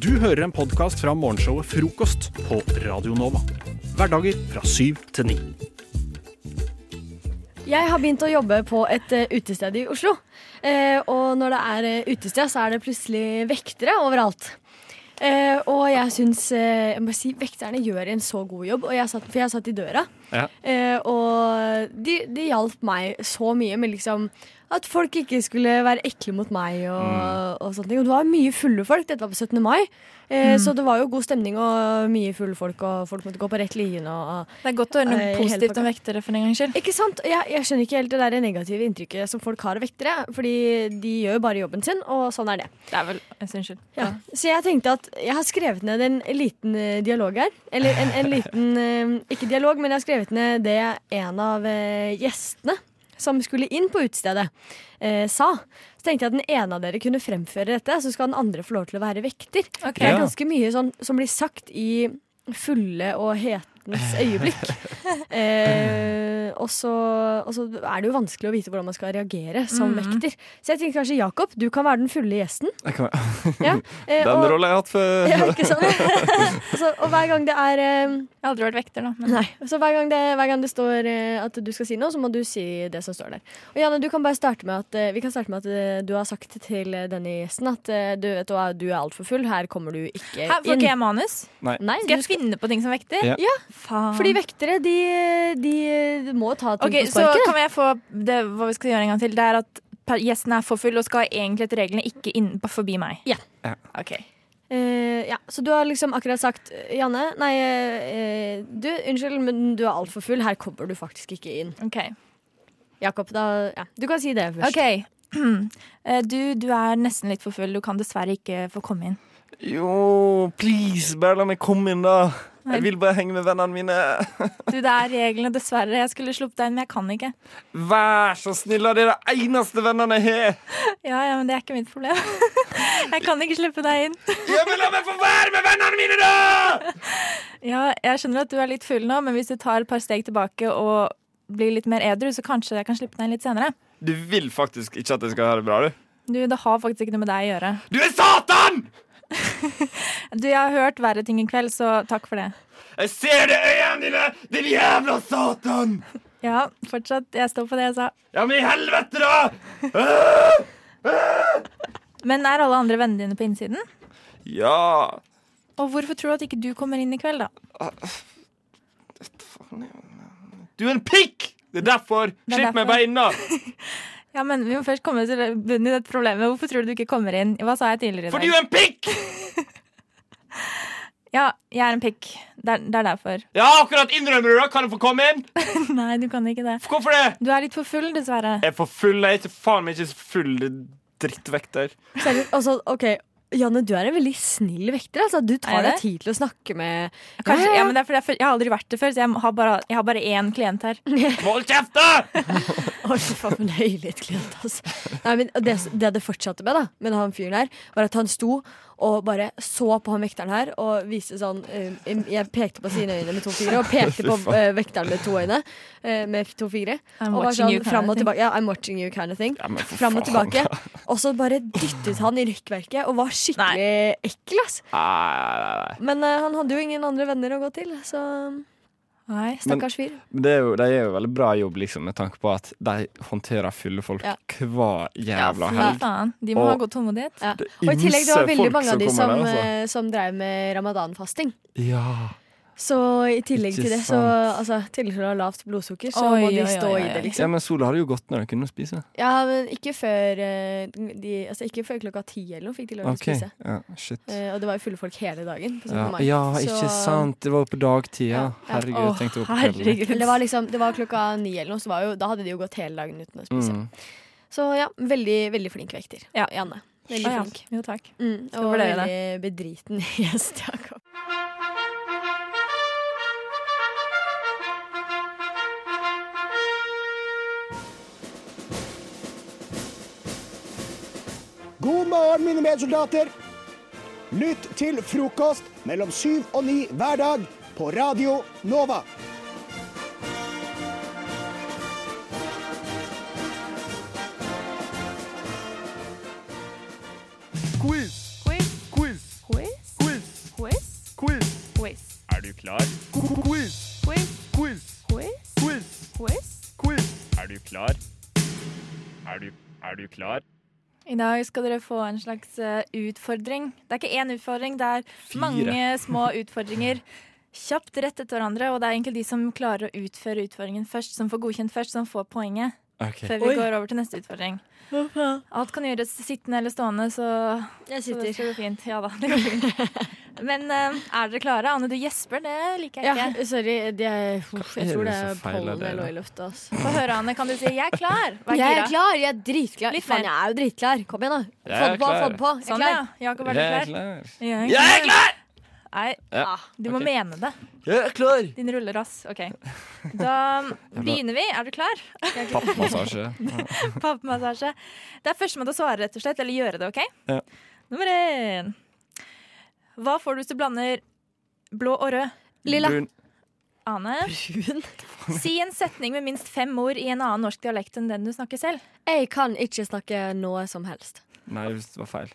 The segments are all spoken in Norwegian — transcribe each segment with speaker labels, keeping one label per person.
Speaker 1: Du hører en podkast fra morgenshowet Frokost på Radio Nova. Hverdager fra syv til ni.
Speaker 2: Jeg har begynt å jobbe på et eh, utested i Oslo. Eh, og når det er eh, utested, så er det plutselig vektere overalt. Eh, og jeg syns eh, jeg må si, vekterne gjør en så god jobb, og jeg satt, for jeg satt i døra.
Speaker 1: Ja.
Speaker 2: Eh, og de, de hjalp meg så mye med liksom at folk ikke skulle være ekle mot meg. Og,
Speaker 3: Mm.
Speaker 2: og sånne ting. Og det var mye fulle folk. Dette var på 17. mai,
Speaker 3: Mm.
Speaker 2: eh, så det var jo god stemning og mye fulle folk. Og folk måtte gå på rett linje. Og, og,
Speaker 3: Det er godt å høre noe
Speaker 2: Nei, helt
Speaker 3: positivt
Speaker 2: pakka.
Speaker 3: om vektere for en gangs skyld.
Speaker 2: ikke sant? Jeg, jeg skjønner ikke helt det der negative inntrykket som folk har av vektere. Fordi de gjør jo bare jobben sin, og sånn er det.
Speaker 3: Det er vel eh, Unnskyld.
Speaker 2: Ja. Så jeg tenkte at jeg har skrevet ned en liten eh, dialog her. Eller en, en liten eh, Ikke dialog, men jeg har skrevet ned det en av eh, gjestene som skulle inn på utestedet, eh, sa. Så tenkte jeg at den ene av dere kunne fremføre dette, så skal den andre få lov til å være vekter.
Speaker 3: Ok.
Speaker 2: Det er
Speaker 1: Ja.
Speaker 2: ganske mye sånn som blir sagt i fulle og hetens øyeblikk. Eh, og så og så er det jo vanskelig å vite hvordan man skal reagere som vekter. Så jeg tenker kanskje Jakob, du kan være den fulle gjesten.
Speaker 4: Jeg kan-
Speaker 2: Ja, eh,
Speaker 4: Den
Speaker 2: og,
Speaker 4: rolla jeg har hatt før.
Speaker 2: ja, ikke sant? så, Altså, og hver gang det er eh,
Speaker 3: Jeg har aldri vært vekter, da. Men
Speaker 2: Nei. Så hver gang det, hver gang det står eh, at du skal si noe, så må du si det som står der. Og Janne, du kan bare starte med at, eh, vi kan starte med at eh, du har sagt til eh, denne gjesten at eh, du vet hva, du er altfor full, her kommer du ikke
Speaker 3: Hæ, får
Speaker 2: inn.
Speaker 3: ikke jeg manus?
Speaker 2: Nei,
Speaker 3: Skal
Speaker 2: du
Speaker 3: jeg finne på ting som vekter?
Speaker 4: Ja.
Speaker 3: Faen.
Speaker 2: Fordi vektere, de, de må ta ting
Speaker 3: Ok,
Speaker 2: på
Speaker 3: så
Speaker 2: sparket.
Speaker 3: kan jeg få det, Hva vi skal gjøre en gang til, det er at per- gjesten er for full og skal egentlig etter reglene ikke inn, forbi meg.
Speaker 2: Ja.
Speaker 4: Ja.
Speaker 3: Ok.
Speaker 2: Eh, ja, så du har liksom akkurat sagt Janne, nei, eh, du, unnskyld, men du er altfor full. Her kommer du faktisk ikke inn.
Speaker 3: Ok,
Speaker 2: Jakob, da ja, Du kan si det først.
Speaker 3: Ok. Eh, Du, du er nesten litt for full. Du kan dessverre ikke få komme inn.
Speaker 4: Jo, please, bare la meg komme inn, da. Jeg vil bare henge med vennene mine.
Speaker 3: Du, Det er reglene, dessverre. Jeg skulle sluppet deg inn, men jeg kan ikke.
Speaker 4: Vær så snill, da. Det er de eneste vennene jeg har.
Speaker 3: Ja, ja, men Det er ikke mitt problem. Jeg kan ikke slippe deg inn.
Speaker 4: Ja, men la meg få være med vennene mine, da!
Speaker 3: Ja, Jeg skjønner at du er litt full nå, men hvis du tar et par steg tilbake og blir litt mer edru, så kanskje jeg kan slippe deg inn litt senere.
Speaker 4: Du vil faktisk ikke at jeg skal ha det bra, du?
Speaker 3: Du, Det har faktisk ikke noe med deg å gjøre.
Speaker 4: Du er Satan!
Speaker 3: Du, Jeg har hørt verre ting i kveld, så takk for det.
Speaker 4: Jeg ser det i øynene dine, din jævla Satan!
Speaker 3: Ja, fortsatt. Jeg står på det jeg sa.
Speaker 4: Ja, men i helvete, da!
Speaker 3: Men er alle andre vennene dine på innsiden?
Speaker 4: Ja
Speaker 3: Og hvorfor tror du at ikke du kommer inn i kveld, da?
Speaker 4: Du er en pikk! Det er derfor.
Speaker 3: er
Speaker 4: Slipp meg
Speaker 3: derfor.
Speaker 4: bare inn, da.
Speaker 3: Ja, men Vi må først komme til bunnen i dette problemet. Hvorfor tror du du ikke kommer inn? Hva sa jeg tidligere i
Speaker 4: For du
Speaker 3: dag?
Speaker 4: er en pikk!
Speaker 3: Ja, jeg er en pikk. Det er, det er derfor.
Speaker 4: Ja, akkurat innrømmer du, da. Kan du få komme inn?
Speaker 3: Nei, du kan ikke det.
Speaker 4: Hvorfor det?
Speaker 3: Du er litt for full, dessverre.
Speaker 4: Jeg er for full. Jeg er ikke faen meg ikke så full det er drittvekter.
Speaker 2: Selv, altså, ok, Janne, du er en veldig snill vekter. Altså. Du
Speaker 3: Er
Speaker 2: tar
Speaker 3: jeg
Speaker 2: deg tid til å snakke med
Speaker 3: Kanskje,
Speaker 2: Ja, ja,
Speaker 3: ja,
Speaker 2: ja.
Speaker 3: men det er fordi jeg, føl- jeg har aldri vært det før, så jeg har bare, jeg har bare én klient her.
Speaker 4: Hold kjeft, da!
Speaker 2: Oi, fy faen, for en høylytt klient, altså. Nei, men det, det det fortsatte med, da, med han fyren her, var at han sto og bare så på han vekteren her og viste sånn eh, Jeg pekte på sine øyne med to fingre og pekte på eh, vekteren med to øyne eh, med to fingre.
Speaker 3: I'm
Speaker 2: Og var
Speaker 3: watching
Speaker 2: sånn
Speaker 3: you kind
Speaker 2: fram
Speaker 3: of
Speaker 2: og
Speaker 3: thing.
Speaker 2: tilbake. Ja, I'm watching you kind of thing.
Speaker 4: Ja, men for
Speaker 2: Fram og
Speaker 4: faen.
Speaker 2: tilbake. Og så bare dyttet han i rykkverket og var skikkelig ekkel, ass.
Speaker 4: Nei, nei, nei.
Speaker 2: Men eh, han hadde jo ingen andre venner å gå til, så
Speaker 3: Nei.
Speaker 2: stakkars fyr.
Speaker 4: Men det er jo, de gjør jo veldig bra jobb, liksom, med tanke på at de håndterer fulle folk
Speaker 2: Ja.
Speaker 4: hver jævla
Speaker 3: Fy
Speaker 4: helg.
Speaker 3: faen. De må
Speaker 4: Og-
Speaker 3: ha god tålmodighet.
Speaker 2: Ja.
Speaker 4: Det er
Speaker 2: Og i tillegg det var
Speaker 4: ymse
Speaker 2: veldig
Speaker 4: folk
Speaker 2: mange av de
Speaker 4: kommer
Speaker 2: som,
Speaker 4: der, altså.
Speaker 2: eh, som drev med ramadanfasting.
Speaker 4: Ja.
Speaker 2: Så i tillegg
Speaker 4: Ikke
Speaker 2: til det, så
Speaker 4: sant.
Speaker 2: altså, i tillegg til å ha lavt blodsukker, så
Speaker 3: Oi,
Speaker 2: må de
Speaker 3: oi,
Speaker 2: stå
Speaker 3: oi,
Speaker 2: i
Speaker 3: oi,
Speaker 2: det,
Speaker 3: oi.
Speaker 4: ja,
Speaker 2: liksom.
Speaker 4: men sola hadde jo gått når de kunne spise.
Speaker 2: Ja, men ikke før, eh, de, altså, ikke før klokka ti eller noe fikk de lov til
Speaker 4: Ok,
Speaker 2: å spise.
Speaker 4: ja, shit.
Speaker 2: Eh, og det var jo fulle folk hele dagen. På 17.
Speaker 4: Ja,
Speaker 2: mai.
Speaker 4: ja
Speaker 2: Så-
Speaker 4: ikke sant. Det var jo på dagtida.
Speaker 2: Ja, ja.
Speaker 4: Herregud,
Speaker 3: Å,
Speaker 4: jeg tenkte jo på kvelden.
Speaker 3: herregud.
Speaker 2: Men det var, liksom, det var klokka ni eller noe, så var jo, da hadde de jo gått hele dagen uten å spise.
Speaker 4: Mm.
Speaker 2: Så ja, veldig, veldig flink vekter.
Speaker 3: Ja.
Speaker 2: Janne. Veldig
Speaker 3: Å, ja.
Speaker 2: flink.
Speaker 3: Jo, takk.
Speaker 2: Mm,
Speaker 3: Skal
Speaker 2: og
Speaker 3: vurdere
Speaker 2: veldig bedriten gjest, Jakob.
Speaker 5: God morgen, mine medsoldater. Lytt til frokost mellom syv og ni hver dag på Radio Nova.
Speaker 6: Quiz. Quiz. Quiz.
Speaker 3: Quiz?
Speaker 1: du klar? Quiz!
Speaker 3: Quiz,
Speaker 1: Quiz!
Speaker 3: quiz,
Speaker 1: Quiz!
Speaker 3: quiz.
Speaker 1: Quiz! Er du klar? Er du, er du klar?
Speaker 3: I dag skal dere få en slags eh, utfordring. Det er ikke én utfordring, det er
Speaker 4: Fire.
Speaker 3: mange små utfordringer. Kjapt rett etter hverandre, og det er egentlig de som klarer å utføre utfordringen først, som får godkjent først, som får poenget.
Speaker 4: Ok.
Speaker 3: Før vi
Speaker 2: Oi.
Speaker 3: går over til neste utfordring. Alt kan gjøres sittende eller stående, så,
Speaker 2: Jeg
Speaker 3: så
Speaker 2: sitter.
Speaker 3: det skal gå fint. Ja da, det går fint. Men eh, er dere klare? Anne, du gjesper, det liker jeg
Speaker 2: Ja,
Speaker 3: ikke.
Speaker 2: sorry. Det er, uff, jeg
Speaker 4: er
Speaker 2: tror
Speaker 4: det
Speaker 2: det er
Speaker 4: som feiler
Speaker 2: pollen
Speaker 4: dere?
Speaker 2: eller noe i altså. lufta. ass.
Speaker 3: Få høre, Anne, kan du si 'jeg er klar'? Vær
Speaker 2: Jeg er
Speaker 3: gira.
Speaker 2: klar! Jeg er dritklar.
Speaker 3: Litt
Speaker 2: Faen,
Speaker 3: mer.
Speaker 2: jeg er jo dritklar. Kom igjen, da.
Speaker 4: Jeg
Speaker 2: Få
Speaker 4: er
Speaker 2: det på.
Speaker 4: klar.
Speaker 2: Få det på. Jeg er
Speaker 3: Sånn, ja.
Speaker 2: klar.
Speaker 3: Jakob, er du
Speaker 4: Jeg er
Speaker 3: klar?
Speaker 4: klar.
Speaker 3: Jeg er
Speaker 4: Jeg er klar!
Speaker 3: Nei,
Speaker 4: Ja.
Speaker 2: Ah,
Speaker 3: du må
Speaker 4: Ok.
Speaker 3: mene det.
Speaker 4: Jeg er klar!
Speaker 3: Din rullerass. OK. Da begynner vi. Er du klar?
Speaker 4: Pappmassasje.
Speaker 3: Pappmassasje. Det er førstemann til å svare, rett og slett. Eller gjøre det, OK?
Speaker 4: Ja.
Speaker 3: Nummer én. Hva får du hvis du blander blå og rød?
Speaker 2: Lilla.
Speaker 4: Brun.
Speaker 3: Ane,
Speaker 2: Brun.
Speaker 3: si en setning med minst fem ord i en annen norsk dialekt enn den du snakker selv.
Speaker 2: Jeg kan ikke snakke noe som helst.
Speaker 4: Nei, hvis det var feil.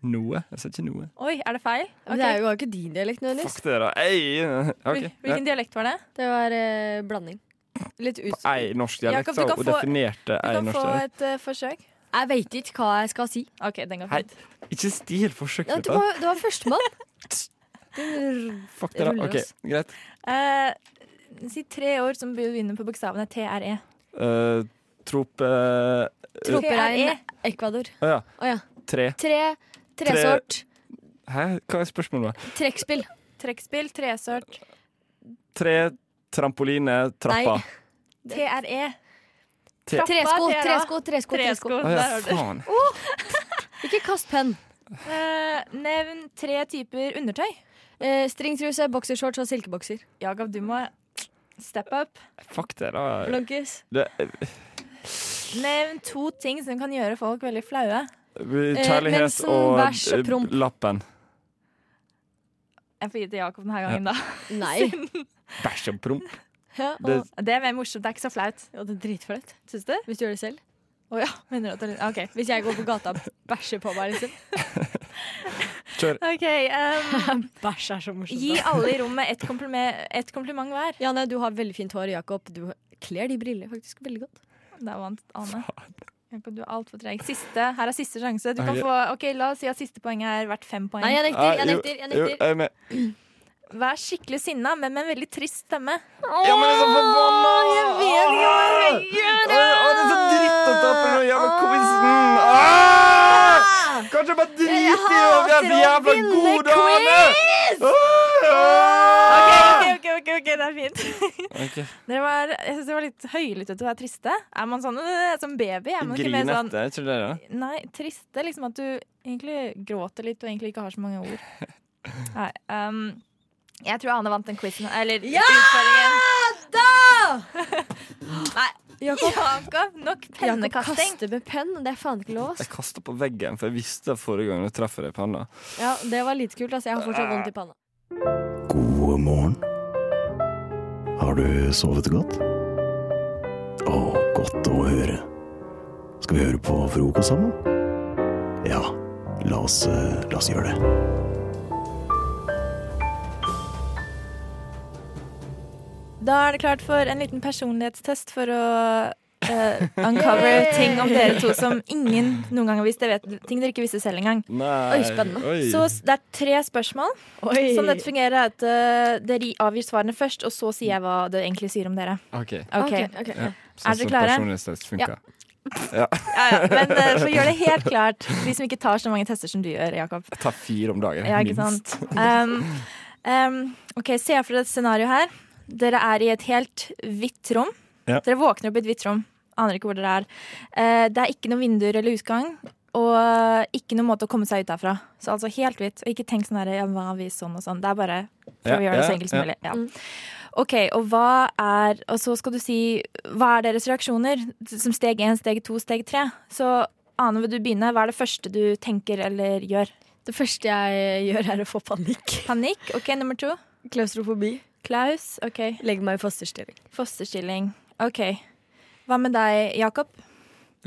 Speaker 4: Noe? Jeg sa ikke noe.
Speaker 3: Oi, er det feil? Ok.
Speaker 2: Det er jo ikke din dialekt nødvendigvis.
Speaker 4: Fuck det, da. Ei! Ok.
Speaker 3: Hvil- Hvilken dialekt var det?
Speaker 2: Det var eh, blanding. Litt ut...
Speaker 4: Ja. Ei norsk dialekt,
Speaker 3: Jakob, du
Speaker 4: da,
Speaker 3: kan
Speaker 4: og
Speaker 3: få-
Speaker 4: definerte
Speaker 3: Du
Speaker 4: ei
Speaker 3: kan
Speaker 4: norsk
Speaker 3: få
Speaker 4: dialekt.
Speaker 3: et eh, forsøk.
Speaker 2: Jeg veit ikke hva jeg skal si.
Speaker 3: OK, den går
Speaker 4: Hei,
Speaker 3: fint.
Speaker 4: ikke stil forsøk på
Speaker 2: Ja, det,
Speaker 4: dette.
Speaker 2: var, det var førstemann. Du-
Speaker 4: Fuck det, da.
Speaker 2: ruller
Speaker 4: OK,
Speaker 2: oss.
Speaker 4: greit.
Speaker 3: Eh, si tre ord som begynner på bokstavene TRE.
Speaker 4: Eh, trop... eh,
Speaker 3: E.
Speaker 2: Troperegn. Ecuador.
Speaker 4: Å ja.
Speaker 2: Å ja.
Speaker 4: Tre.
Speaker 2: Tre. Tresort.
Speaker 4: Hæ? Hva er spørsmålet?
Speaker 2: Trekkspill.
Speaker 3: Trekkspill, tresort,
Speaker 4: Tre trampoline, trappa.
Speaker 2: Nei.
Speaker 3: TRE.
Speaker 4: Tre-
Speaker 2: Tresko,
Speaker 3: Tera.
Speaker 2: tresko, tresko.
Speaker 3: Tresko.
Speaker 2: tresko.
Speaker 4: Å
Speaker 3: Der
Speaker 4: ja,
Speaker 3: har du. Oh!
Speaker 4: faen.
Speaker 2: Ikke kast penn.
Speaker 3: Eh, nevn tre typer undertøy.
Speaker 2: Eh, stringtruse, boksershorts og silkebokser.
Speaker 3: Jakob, du må step up.
Speaker 4: Fuck det, da.
Speaker 2: Blunkis.
Speaker 4: Det,
Speaker 3: Nevn to ting som kan gjøre folk veldig flaue.
Speaker 4: kjærlighet
Speaker 2: Eh, mensen,
Speaker 4: og
Speaker 2: bæsj og
Speaker 4: eh,
Speaker 2: promp.
Speaker 4: lappen.
Speaker 3: Jeg får gi det til Jakob denne gangen, da.
Speaker 2: Nei.
Speaker 4: Bæsj og promp.
Speaker 2: Ja,
Speaker 4: Det,
Speaker 2: og,
Speaker 3: Det er mer morsomt. Det er ikke så flaut.
Speaker 2: og det er dritflaut.
Speaker 3: Syns du?
Speaker 2: Hvis du gjør det selv.
Speaker 3: Å ja. Mener du at det er litt OK.
Speaker 2: Hvis jeg går på gata og bæsjer på meg, liksom.
Speaker 4: kjør.
Speaker 3: Ok, ehm,
Speaker 2: Bæsj er så morsomt.
Speaker 3: Gi alle i rommet et kompliment, et kompliment hver.
Speaker 2: Janne, du har veldig fint hår. Jakob, du kler de brillene faktisk veldig godt.
Speaker 3: Der vant Ane. Jakob, du er altfor treg. Siste. Her er siste sjanse. Du kan
Speaker 4: Ok.
Speaker 3: få, ok, La oss si at siste poeng er verdt fem poeng.
Speaker 2: Nei, eh, jeg nekter. Jeg nekter. jeg
Speaker 4: Ah, Jo, jo, jeg
Speaker 2: nekter
Speaker 4: er med.
Speaker 3: Vær skikkelig sinna, men med en veldig trist stemme.
Speaker 4: Ja, men altså, jeg er så forbanna! Jeg vet ikke hva jeg gjør! Å, det er så dritt å tape den jævla quizen! sånn. Ah! Kanskje jeg bare driter i å være så jævla god, Arne!
Speaker 3: Ok,
Speaker 4: Ah!
Speaker 3: ok, ok, ok, det er fint.
Speaker 4: Ok.
Speaker 3: Dere var, jeg synes det var litt høylytte til å være triste. Er man sånn øh, som baby? Er man ikke mer sånn
Speaker 4: Grinete, er ikke det det?
Speaker 3: Nei, triste. Liksom at du egentlig gråter litt og egentlig ikke har så mange ord. Nei. ehm, jeg tror Ane vant den quizen. Eller ja! utfordringen.
Speaker 2: Jakob,
Speaker 3: Jakob, nok
Speaker 2: Jakob
Speaker 3: pennekasting.
Speaker 2: kaster med penn. Det er faen ikke lov. ass.
Speaker 4: Jeg kasta på veggen, for jeg visste forrige gang du treffer deg i panna.
Speaker 2: Ja, det var lite kult. ass. Jeg har fortsatt vondt i panna.
Speaker 6: God morgen. Har du sovet godt? Å, godt å høre. Skal vi høre på frokost sammen? Ja, la oss, eh, la oss gjøre det.
Speaker 3: Da er det klart for en liten personlighetstest for å eh, uncover ting om dere to som ingen noen gang har visst. Jeg vet, ting dere ikke visste selv engang.
Speaker 4: Nei.
Speaker 2: Oi, spennende.
Speaker 4: Oi.
Speaker 3: Så s- det er tre spørsmål.
Speaker 2: Oi.
Speaker 3: Sånn dette fungerer er at eh, Dere avgir svarene først, og så sier jeg hva det egentlig sier om dere.
Speaker 4: OK.
Speaker 3: Ok,
Speaker 2: Ok, ok.
Speaker 4: Ja.
Speaker 3: Er dere klare?
Speaker 4: Personlighetstest funka.
Speaker 3: ja, ja. Men eh, for å gjøre det helt klart, de som ikke tar så mange tester som du gjør, Jakob.
Speaker 4: Jeg tar fire om dagen,
Speaker 3: Ja, ikke
Speaker 4: minst.
Speaker 3: sant? Um, um, ok, Se for dere et scenario her. Dere er i et helt hvitt rom.
Speaker 4: Ja.
Speaker 3: Dere våkner opp i et hvitt rom. Aner ikke hvor dere er. Eh, det er ikke noen vinduer eller utgang. Og ikke noen måte å komme seg ut derfra. Så altså helt hvitt. Og ikke tenk sånn her, ja, hva hvis sånn og sånn. Det er bare for å
Speaker 4: Ja,
Speaker 3: gjøre det så
Speaker 4: ja,
Speaker 3: enkelt som
Speaker 4: ja.
Speaker 3: mulig. Ja. Ok, og hva er Og så skal du si hva er deres reaksjoner? Som steg én, steg to, steg tre. Så Ane, vil du begynne? Hva er det første du tenker eller gjør?
Speaker 2: Det første jeg gjør, er å få panikk.
Speaker 3: Panikk. Ok, nummer to.
Speaker 2: Klaustrofobi.
Speaker 3: Klaus. Ok.
Speaker 2: Legger meg i fosterstilling.
Speaker 3: Fosterstilling. Ok. Hva med deg, Jakob?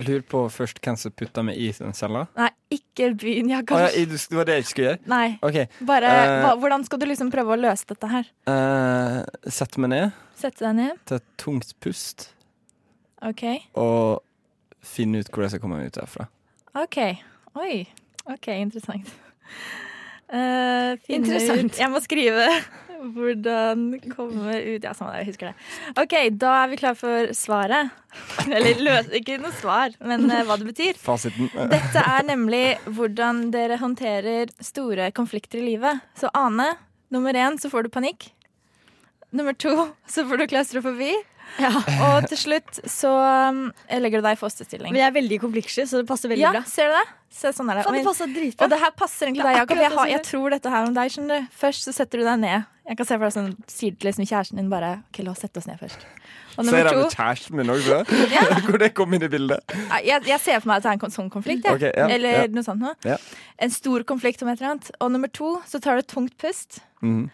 Speaker 7: lurer på først hvem som putta meg i den cella.
Speaker 3: Nei, ikke byen, jeg
Speaker 4: Å,
Speaker 3: kan
Speaker 4: ja,
Speaker 3: ikke
Speaker 4: i- du- det var det jeg ikke skulle gjøre?
Speaker 3: Nei.
Speaker 4: OK.
Speaker 3: Bare
Speaker 4: Eh.
Speaker 3: hva, Hvordan skal du liksom prøve å løse dette her?
Speaker 4: eh, sett meg ned,
Speaker 3: Sette deg ned?
Speaker 7: Ta et tungt pust
Speaker 3: OK.
Speaker 7: og finne ut hvor jeg skal komme meg ut derfra.
Speaker 3: OK. Oi. OK, interessant. Eh, finne
Speaker 2: Interessant.
Speaker 3: Ut. Jeg må skrive hvordan komme ut Ja, samme det, jeg husker det. OK, da er vi klar for svaret. Eller løs, ikke noe svar, men eh, hva det betyr.
Speaker 7: Fasiten. eh,
Speaker 3: Dette er nemlig hvordan dere håndterer store konflikter i livet. Så Ane, nummer én så får du panikk. Nummer to så får du klaustrofobi. Og til slutt så um, legger du deg i fosterstilling.
Speaker 2: Men jeg er veldig konfliktsky, så det passer veldig
Speaker 3: Ja,
Speaker 2: bra.
Speaker 3: ser du det? Se, sånn er det.
Speaker 2: Faen, det
Speaker 3: Og,
Speaker 2: passer
Speaker 3: og
Speaker 2: dritbra.
Speaker 3: det her passer egentlig deg, Jakob. Jeg, har, jeg tror dette her om deg, skjønner du. Først så setter du deg ned. Jeg kan se for deg sånn, sier til liksom kjæresten din bare OK, la oss sette oss ned først. Og
Speaker 4: så er
Speaker 3: nummer
Speaker 4: det
Speaker 3: to
Speaker 4: med kjæresten min også. Hvor det kom inn i bildet.
Speaker 3: Nei, Jeg, jeg ser for meg at det er en kon- sånn konflikt. jeg.
Speaker 4: Ok, ja,
Speaker 3: Eller
Speaker 4: ja.
Speaker 3: noe sånt noe.
Speaker 4: Ja.
Speaker 3: En stor konflikt om et eller annet. Og nummer to, så tar du et tungt pust.
Speaker 7: Mhm.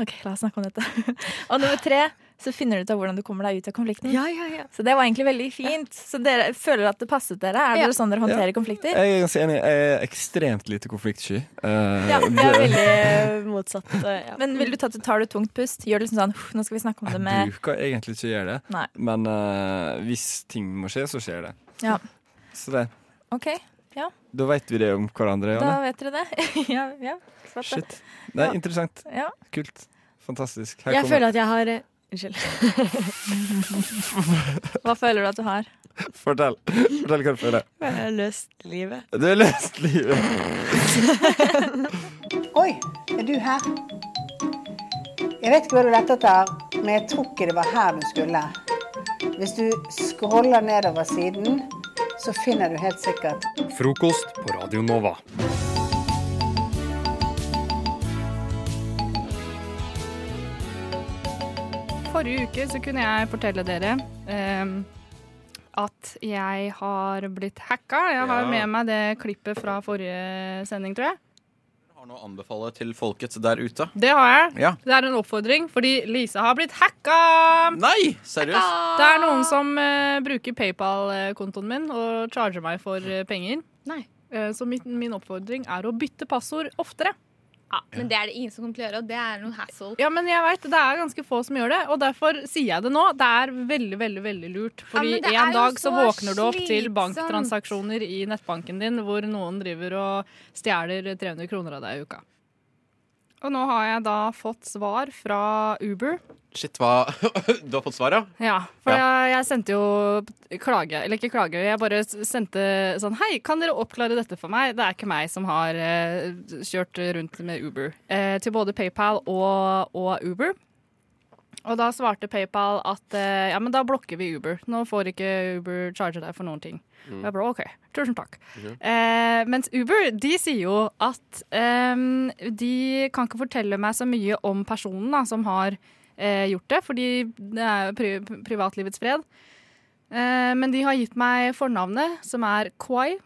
Speaker 3: OK, la oss snakke om dette. og nummer tre, så finner du ut av hvordan du kommer deg ut av konflikten.
Speaker 2: Ja, ja, ja.
Speaker 3: Så det var egentlig veldig fint. Så dere føler at det passet dere? Er det
Speaker 2: Ja.
Speaker 3: sånn dere håndterer konflikter?
Speaker 7: Jeg er ganske enig. Jeg er ekstremt lite konfliktsky. Eh,
Speaker 3: Ja,
Speaker 2: Det er veldig motsatt. eh, Ja.
Speaker 3: Men vil du ta, tar du et tungt pust? Gjør det liksom sånn «Uff, Nå skal vi snakke om det
Speaker 7: Jeg
Speaker 3: med
Speaker 7: bruker egentlig ikke å gjøre det,
Speaker 3: Nei.
Speaker 7: men eh, hvis ting må skje, så skjer det.
Speaker 3: Ja.
Speaker 7: Så det,
Speaker 3: OK,
Speaker 7: da vet vi det om hverandre.
Speaker 3: da
Speaker 7: Janne.
Speaker 3: vet dere det. ja, ja. svart det.
Speaker 7: Shit. Det
Speaker 3: Ja.
Speaker 7: er interessant.
Speaker 3: Ja.
Speaker 7: Kult. Fantastisk. Her
Speaker 2: Jeg
Speaker 7: kommer
Speaker 2: føler at jeg har eh, Unnskyld.
Speaker 3: Hva føler du at du har?
Speaker 4: Fortell. Fortell hva du føler.
Speaker 2: Jeg har løst livet.
Speaker 4: Du har løst livet.
Speaker 8: Oi, er du her? Jeg vet ikke hva du lette etter, men jeg tror ikke det var her du skulle. Hvis du scroller nedover siden, så finner du helt sikkert
Speaker 1: Frokost på Radio Nova.
Speaker 9: Forrige uke så kunne jeg fortelle dere ehm, at jeg har blitt hacka. Jeg har
Speaker 10: Ja.
Speaker 9: med meg det klippet fra forrige sending, tror jeg.
Speaker 10: har noe å anbefale til folket der ute.
Speaker 9: Det har jeg.
Speaker 10: Ja.
Speaker 9: Det er en oppfordring, fordi Lisa har blitt hacka!
Speaker 10: Nei, seriøst?
Speaker 9: Det er noen som eh, bruker PayPal-kontoen min og charger meg for eh, penger. Nei. Eh, så min, min oppfordring er å bytte passord oftere.
Speaker 11: Ja, men det er det ingen som kommer til å gjøre, og det er noe hassle.
Speaker 9: Ja, men jeg vet, Det er ganske få som gjør det, og derfor sier jeg det nå. Det er veldig veldig, veldig lurt. Fordi
Speaker 11: men det er
Speaker 9: en
Speaker 11: jo
Speaker 9: dag så
Speaker 11: så
Speaker 9: våkner du opp til
Speaker 11: slitsomt.
Speaker 9: banktransaksjoner i nettbanken din hvor noen driver og stjeler 300 kroner av deg i uka. Og nå har jeg da fått svar fra Uber.
Speaker 10: Shit, hva Du har fått svar, ja?
Speaker 9: Ja, for Jeg, jeg sendte jo klage, eller ikke klage, jeg bare s- sendte sånn Hei, kan dere oppklare dette for meg? Det er ikke meg som har eh, kjørt rundt med Uber. Eh, til både PayPal og, og Uber. Og da svarte PayPal at eh, ja, men da blokker vi Uber. Nå får ikke Uber charge deg for noen ting.
Speaker 4: Mm.
Speaker 12: Mm.
Speaker 9: Og Jeg bare OK, tusen takk. Eh, mens Uber de sier jo at ehm, de kan ikke fortelle meg så mye om personen da, som har eh, gjort det, fordi det er jo pri pri- privatlivets fred. Eh, men de har gitt meg fornavnet, som er Kwai,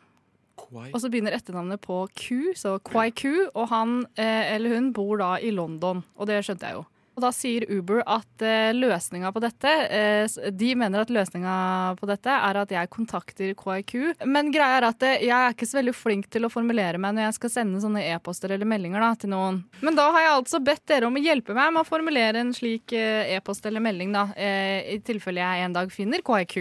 Speaker 9: og så begynner etternavnet på Q, så Kwai Q, og han eh, eller hun bor da i London, og det skjønte jeg jo. Og da sier Uber at eh, løsninga på dette eh, s- De mener at løsninga på dette er at jeg kontakter KIQ. Men greia er at eh, jeg er ikke så veldig flink til å formulere meg når jeg skal sende sånne e-poster eller meldinger da, til noen. Men da har jeg altså bedt dere om å hjelpe meg med å formulere en slik eh, e-post eller melding, da. Eh, I tilfelle jeg en dag finner KIQ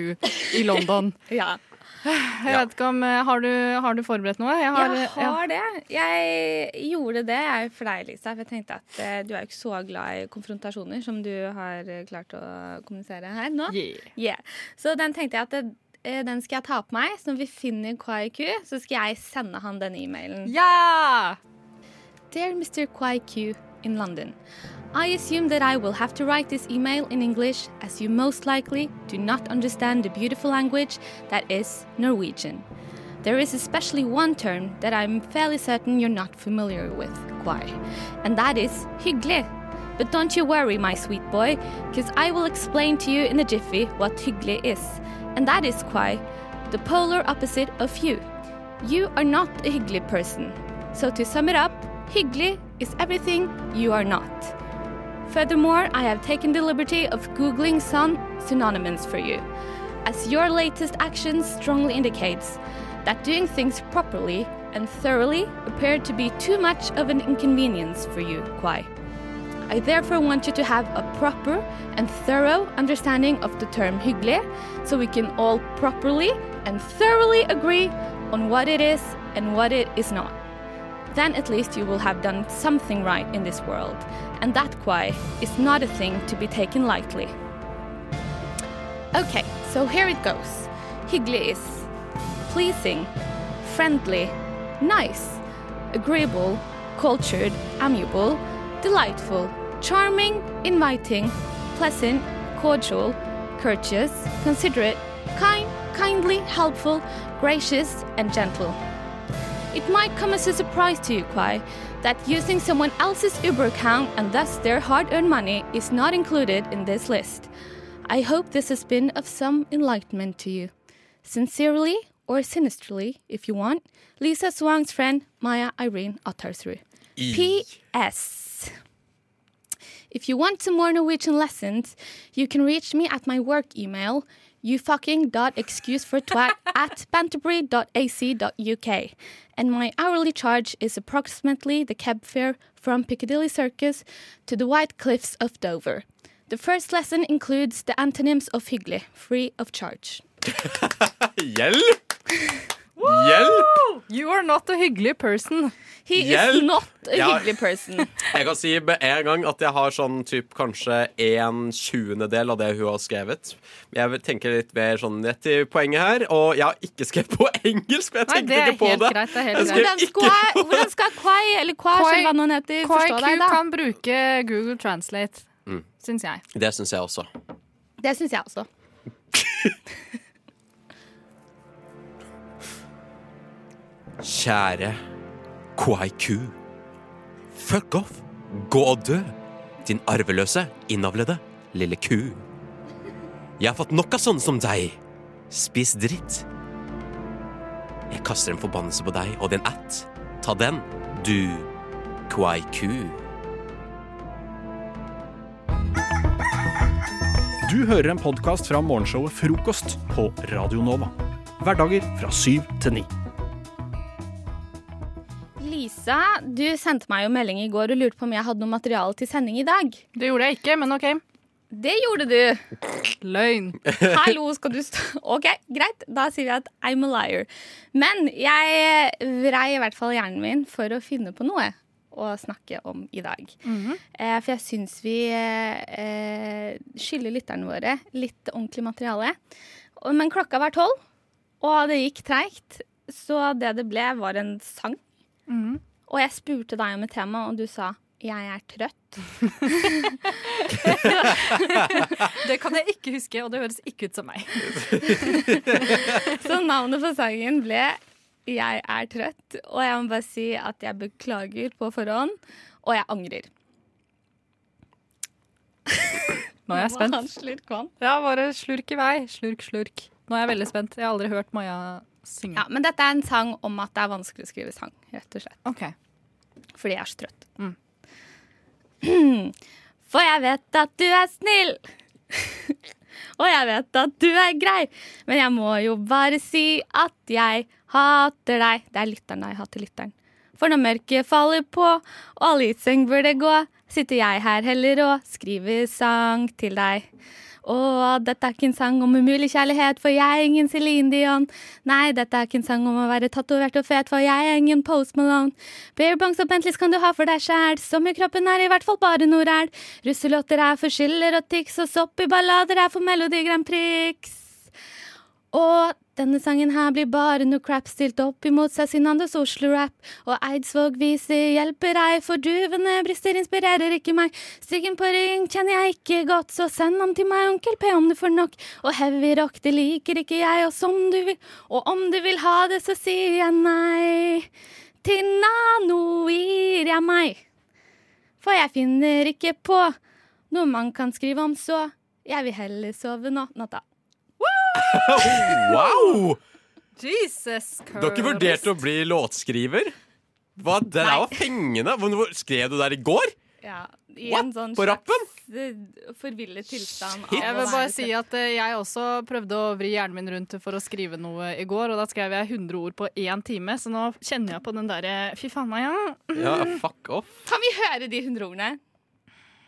Speaker 9: i London.
Speaker 11: Ja.
Speaker 9: Jeg vet ikke om, eh, har, du, har du forberedt noe? Jeg har, eh,
Speaker 11: Jeg
Speaker 9: ja.
Speaker 11: har det. Jeg gjorde det jeg for deg, Lisa. For jeg tenkte at eh, du er jo ikke så glad i konfrontasjoner som du har eh, klart å kommunisere her nå.
Speaker 9: Yeah.
Speaker 11: Yeah. Så den tenkte jeg at det, eh, den skal jeg ta på meg. Så når vi finner KIQ, så skal jeg sende han den e-mailen.
Speaker 9: Ja!
Speaker 11: Dear Mr. Kwai Q in London, I assume that I will have to write this email in English as you most likely do not understand the beautiful language that is Norwegian. There is especially one term that I'm fairly certain you're not familiar with, Kwai, and that is hyggelig. But don't you worry, my sweet boy, because I will explain to you in a jiffy what hyggelig is, and that is Kwai, the polar opposite of you. You are not a hyggelig person. So to sum it up, hyggelig is everything you are not. Furthermore, I have taken the liberty of googling some synonyms for you. as your latest action strongly indicates that doing things properly and thoroughly appeared to be too much of an inconvenience for you, Kwai. I therefore want you to have a proper and thorough understanding of the term hyggelig, so we can all properly and thoroughly agree on what it is and what it is not. Then at least you will have done something right in this world, and that kwai is not a thing to be taken lightly. Okay, so here it goes. Hyggelig is pleasing, friendly, nice, agreeable, cultured, amiable, delightful, charming, inviting, pleasant, cordial, courteous, considerate, kind, kindly, helpful, gracious, and gentle. It might come as a surprise to you, Kwai, that using someone else's Uber account and thus their hard earned money is not included in this list. I hope this has been of some enlightenment to you. Sincerely, or sinisterly, if you want, Lisa Swang's friend, Maya Irene Ottarsru. E. P.S. If you want some more Norwegian lessons, you can reach me at my work email, youfucking.excusefortwat at banterbury.ac.uk. And my hourly charge is approximately the cab fare from Piccadilly Circus to the White Cliffs of Dover. The first lesson includes the antonyms of hyggelig, free of charge.
Speaker 10: Hjelp! Hjelp!
Speaker 9: You are not a hyggelig person.
Speaker 11: He
Speaker 10: Hjelp! Ja.
Speaker 11: person.
Speaker 10: Jeg kan si med en gang at jeg har sånn typ kanskje en tjuendedel av det hun har skrevet. Jeg tenker litt mer sånn rett i poenget her, og jeg har ikke skrevet på engelsk, men jeg
Speaker 9: Nei,
Speaker 10: tenkte
Speaker 9: det er
Speaker 10: ikke på
Speaker 9: helt
Speaker 10: det.
Speaker 9: greit, det er
Speaker 10: Jeg
Speaker 9: helt greit.
Speaker 10: skrev
Speaker 11: Hvordan
Speaker 10: ikke
Speaker 11: skal, hvordan skal Kwai, eller Kwai,
Speaker 9: Kwai-
Speaker 11: som hva nå heter,
Speaker 9: Kwai
Speaker 11: forstå
Speaker 9: Q
Speaker 11: deg, da?
Speaker 9: kan bruke Google Translate,
Speaker 10: Mm.
Speaker 9: syns jeg.
Speaker 10: Det syns jeg også.
Speaker 11: Det syns jeg også.
Speaker 10: Kjære Kwaiku. Fuck off! Gå og dø! Din arveløse, innavlede lille ku. Jeg har fått nok av sånne som deg. Spis dritt. Jeg kaster en forbannelse på deg og din ætt. Ta den, du Kwaiku.
Speaker 1: Du hører en podkast fra morgenshowet Frokost på Radio Nova. Hverdager fra syv til ni.
Speaker 11: Lisa, du sendte meg jo melding i går og lurte på om jeg hadde noe materiale til sending i dag.
Speaker 9: Det gjorde jeg ikke, men OK.
Speaker 11: Det gjorde du.
Speaker 9: Løgn.
Speaker 11: Hallo, skal du stå OK, greit. Da sier vi at I'm a liar. Men jeg vrei i hvert fall hjernen min for å finne på noe å snakke om i dag.
Speaker 9: Mm.
Speaker 3: Mm-hmm.
Speaker 11: Eh, for jeg syns vi eh, eh, skylder lytterne våre litt ordentlig materiale. Og- Men klokka var tolv, og det gikk treigt. Så det det ble, var en sang.
Speaker 9: Mm.
Speaker 11: Og jeg spurte deg om et tema, og du sa 'jeg er trøtt'.
Speaker 9: Det kan jeg ikke huske, og det høres ikke ut som meg.
Speaker 11: Så navnet på sangen ble 'Jeg er trøtt'. Og jeg må bare si at jeg beklager på forhånd, og jeg angrer.
Speaker 9: Nå er jeg spent.
Speaker 11: Han slurk vann.
Speaker 9: Ja, bare slurk i vei. Slurk, slurk. Nå er jeg veldig spent. Jeg har aldri hørt Maja synge.
Speaker 11: Ja, men dette er en sang om at det er vanskelig å skrive sang, rett og slett. Fordi jeg er så trøtt. For jeg vet at du er snill. Og jeg vet at du er grei, men jeg må jo bare si at jeg hater deg. Det er lytteren, da. Jeg hater lytteren. For når mørket faller på, og alle i seng burde gå, sitter jeg her heller og skriver sang til deg. Å, dette er ikke en sang om umulig kjærlighet, for jeg er ingen Celine Dion. Nei, dette er ikke en sang om å være tatovert og fet, for jeg er ingen Post Malone. Bear Bongs og Bentleys kan du ha for deg sjæl, som i kroppen er i hvert fall bare noe ræl. Russelåter er for skiller og tics, og sopp i ballader er for Melodi Grand Prix. Og denne sangen her blir bare noe crap stilt opp imot Cezinandos Oslo-rap. Og Eidsvåg viser hjelper ei, for duvende brister inspirerer ikke meg. Stigen på ryggen kjenner jeg ikke godt, så send han til meg, onkel P, om du får nok. Og heavy rock, det liker ikke jeg, og som du vil, og om du vil ha det, så sier jeg nei. Til Nano gir jeg meg. For jeg finner ikke på noe man kan skrive om, så jeg vil heller sove nå, natta.
Speaker 10: Wow!
Speaker 9: Jesus
Speaker 10: Dere vurderte å bli låtskriver? Hva, det der var fengende. Hvor- hvor- Skrev du der i går?
Speaker 11: Ja, I
Speaker 9: What?
Speaker 11: en sånn
Speaker 9: På rappen?
Speaker 11: slags, eh, forvillet tilstand. av
Speaker 9: Jeg
Speaker 11: å
Speaker 9: vil bare
Speaker 11: være-
Speaker 9: si at eh, jeg også prøvde å vri hjernen min rundt for å skrive noe i går, og da skrev jeg 100 ord på én time, så nå kjenner jeg på den derre Fy faen meg, ja.
Speaker 10: Ja, fuck off.
Speaker 11: Kan vi høre de 100 ordene?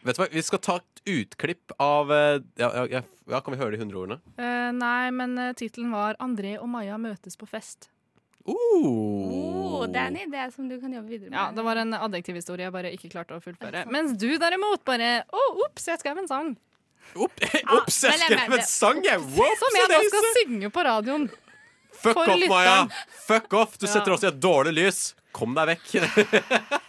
Speaker 10: Vet du hva, Vi skal ta et utklipp av eh, Ja, ja, ja, ja kan vi høre de hundre ordene?
Speaker 9: Eh, nei, men uh, tittelen var 'André og Maja møtes på fest'.
Speaker 11: Oh, det er en idé som du kan jobbe videre med.
Speaker 9: Ja, Det var en adjektivhistorie jeg bare ikke klarte å fullføre. Mens du derimot bare Å, ops, jeg skrev en sang.
Speaker 10: Ops, jeg
Speaker 9: vel, jeg
Speaker 10: skrev
Speaker 9: mener-
Speaker 10: en sang, jeg! Whoops,
Speaker 9: Som jeg nå skal
Speaker 10: daisy!
Speaker 9: synge på radioen.
Speaker 10: Fuck
Speaker 9: for
Speaker 10: off,
Speaker 9: lytteren.
Speaker 10: Maja! Fuck off! Du
Speaker 9: Ja.
Speaker 10: setter oss i et dårlig lys. Kom deg vekk.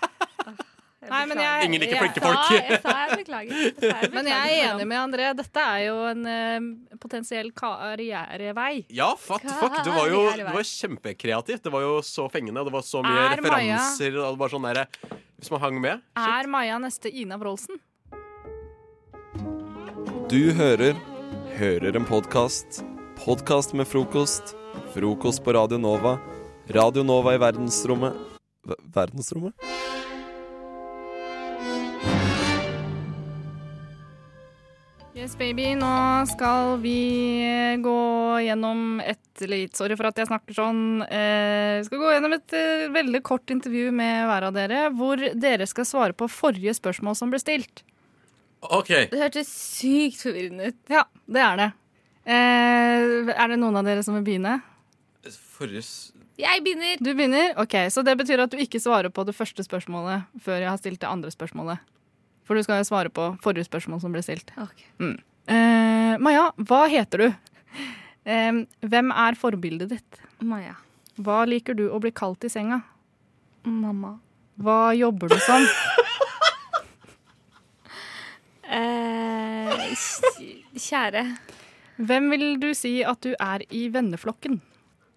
Speaker 9: Nei, men jeg,
Speaker 10: Ingen liker
Speaker 9: jeg-
Speaker 10: flinke folk.
Speaker 9: Ja, jeg-
Speaker 11: jeg beklager. beklager
Speaker 9: Men jeg er
Speaker 11: for
Speaker 9: enig med André. Dette er jo en eh, potensiell karrierevei.
Speaker 10: Ja, fuck, fuck. Du var jo du var kjempekreativ. Det var jo så fengende, og det var så mye
Speaker 9: Er Maja-
Speaker 10: referanser. Og det var sånn der, hvis man hang med
Speaker 9: Er Maja neste Ina Wroldsen?
Speaker 7: Du hører Hører en podkast. Podkast med frokost. Frokost på Radio Nova. Radio Nova i verdensrommet Ver- Verdensrommet?
Speaker 9: Yes, baby. Nå skal vi eh, gå gjennom et litt Sorry for at jeg snakker sånn. Eh, vi skal gå gjennom et eh, veldig kort intervju med hver av dere, hvor dere skal svare på forrige spørsmål som ble stilt.
Speaker 10: OK.
Speaker 11: Det hørtes sykt forvirrende ut.
Speaker 9: Ja, det er det. Eh, er det noen av dere som vil begynne?
Speaker 10: Forrige s-
Speaker 11: Jeg begynner.
Speaker 9: Du begynner? Ok, Så det betyr at du ikke svarer på det første spørsmålet før jeg har stilt det andre spørsmålet. For du skal jo svare på forrige spørsmål som ble stilt. Mm. Eh, Maja, hva heter du? Eh, hvem er forbildet ditt?
Speaker 11: Maja.
Speaker 9: Hva liker du å bli kalt i senga?
Speaker 11: Mamma.
Speaker 9: Hva jobber du som?
Speaker 11: Eh, kj- kjære.
Speaker 9: Hvem vil du si at du er i venneflokken?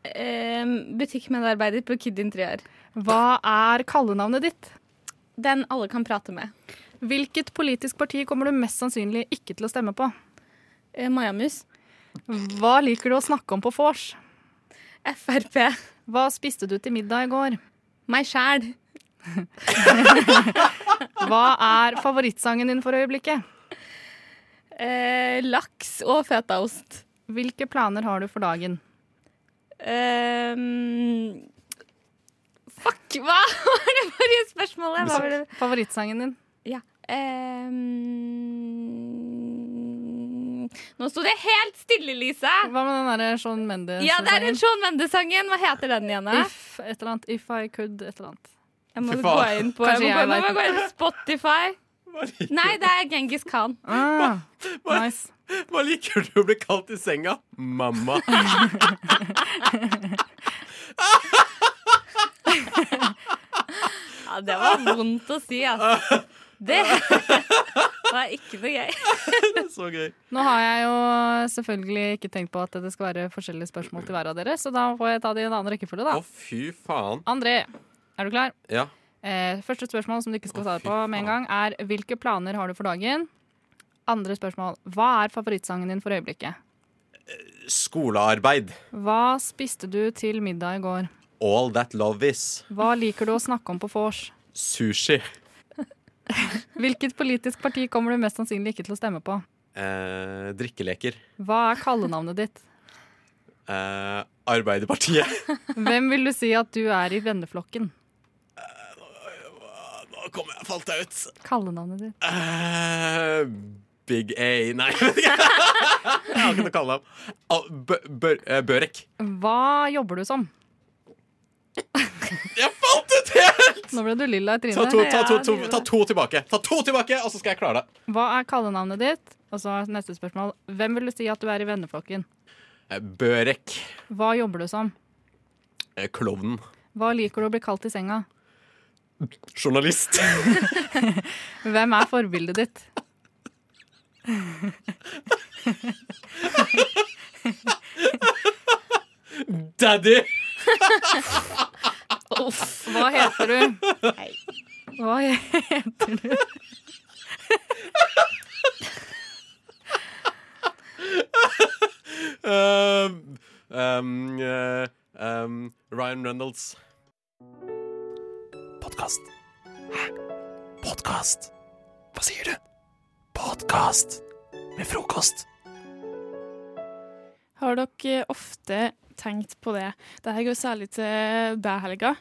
Speaker 11: Eh, butikkmedarbeider på Kid Interiør.
Speaker 9: Hva er kallenavnet ditt?
Speaker 11: Den alle kan prate med.
Speaker 9: Hvilket politisk parti kommer du mest sannsynlig ikke til å stemme på?
Speaker 11: Eh, Majamus.
Speaker 9: Hva liker du å snakke om på vors?
Speaker 11: Frp.
Speaker 9: Hva spiste du til middag i går?
Speaker 11: Meg sjæl.
Speaker 9: Hva er favorittsangen din for øyeblikket?
Speaker 11: Eh, laks og fetaost.
Speaker 9: Hvilke planer har du for dagen?
Speaker 11: Eh, fuck, hva var det forrige spørsmålet? Hva var det?
Speaker 9: Favorittsangen din?
Speaker 11: Ja. Ehm, nå sto det helt stille, Lise!
Speaker 9: Hva med den derre Sean Mendes?
Speaker 11: Ja, det er den Sean Mendes-sangen. Hva heter den igjen? da?
Speaker 9: If et eller annet. If I could et eller annet.
Speaker 11: Jeg må
Speaker 9: Fy
Speaker 11: gå
Speaker 9: faen.
Speaker 11: inn på, jeg må
Speaker 9: Kanskje
Speaker 11: gå
Speaker 9: jeg
Speaker 11: inn, jeg må
Speaker 9: vet.
Speaker 11: gå inn på Spotify. Nei, det er Genghis Khan.
Speaker 9: Ah,
Speaker 10: hva,
Speaker 9: nice.
Speaker 10: hva liker du å bli kalt i senga? Mamma.
Speaker 11: Ja, det var vondt å si, altså. Det var ikke noe gøy.
Speaker 10: Så gøy.
Speaker 9: Nå har jeg jo selvfølgelig ikke tenkt på at det skal være forskjellige spørsmål til hver av dere, så da får jeg ta det i en annen rekkefølge, da.
Speaker 10: Fy faen.
Speaker 9: André, er du klar?
Speaker 10: Ja.
Speaker 9: Eh, første spørsmål som du ikke skal svare på med en gang, er hvilke planer har du for dagen? Andre spørsmål. Hva er favorittsangen din for øyeblikket?
Speaker 10: Skolearbeid.
Speaker 9: Hva spiste du til middag i går?
Speaker 10: All that love is.
Speaker 9: Hva liker du å snakke om på vors?
Speaker 10: Sushi.
Speaker 9: Hvilket politisk parti kommer du mest sannsynlig ikke til å stemme på?
Speaker 10: Eh, drikkeleker.
Speaker 9: Hva er kallenavnet ditt?
Speaker 10: Eh, Arbeiderpartiet.
Speaker 9: Hvem vil du si at du er i venneflokken?
Speaker 10: Nå kom jeg, falt jeg ut.
Speaker 9: Kallenavnet ditt.
Speaker 10: Eh, Big A Nei, jeg vet ikke. Jeg har ikke noe å kalle ham. Ah, Bø- Bør- eh, Børek.
Speaker 9: Hva jobber du som?
Speaker 10: Jeg falt ut helt!
Speaker 9: Nå ble du lilla i
Speaker 10: Ta
Speaker 9: trynet.
Speaker 10: to, ta, to, to, ta to tilbake, Ta to tilbake, og så skal jeg klare det.
Speaker 9: Hva er kallenavnet ditt? Og så er neste spørsmål. Hvem vil du si at du er i venneflokken?
Speaker 10: Eh, Børek.
Speaker 9: Hva jobber du som?
Speaker 10: Eh, Klovnen.
Speaker 9: Hva liker du å bli kalt i senga?
Speaker 10: Journalist.
Speaker 9: Hvem er forbildet ditt?
Speaker 10: Daddy.
Speaker 9: Uff, hva heter du? Hva heter du?
Speaker 10: Um, um, eh, um, Ryan Reynolds.
Speaker 6: Podkast. Hæ? Podkast?
Speaker 10: Hva sier du? Podkast med frokost.
Speaker 12: Har dere ofte tenkt på det? Dette går særlig til deg, Helga.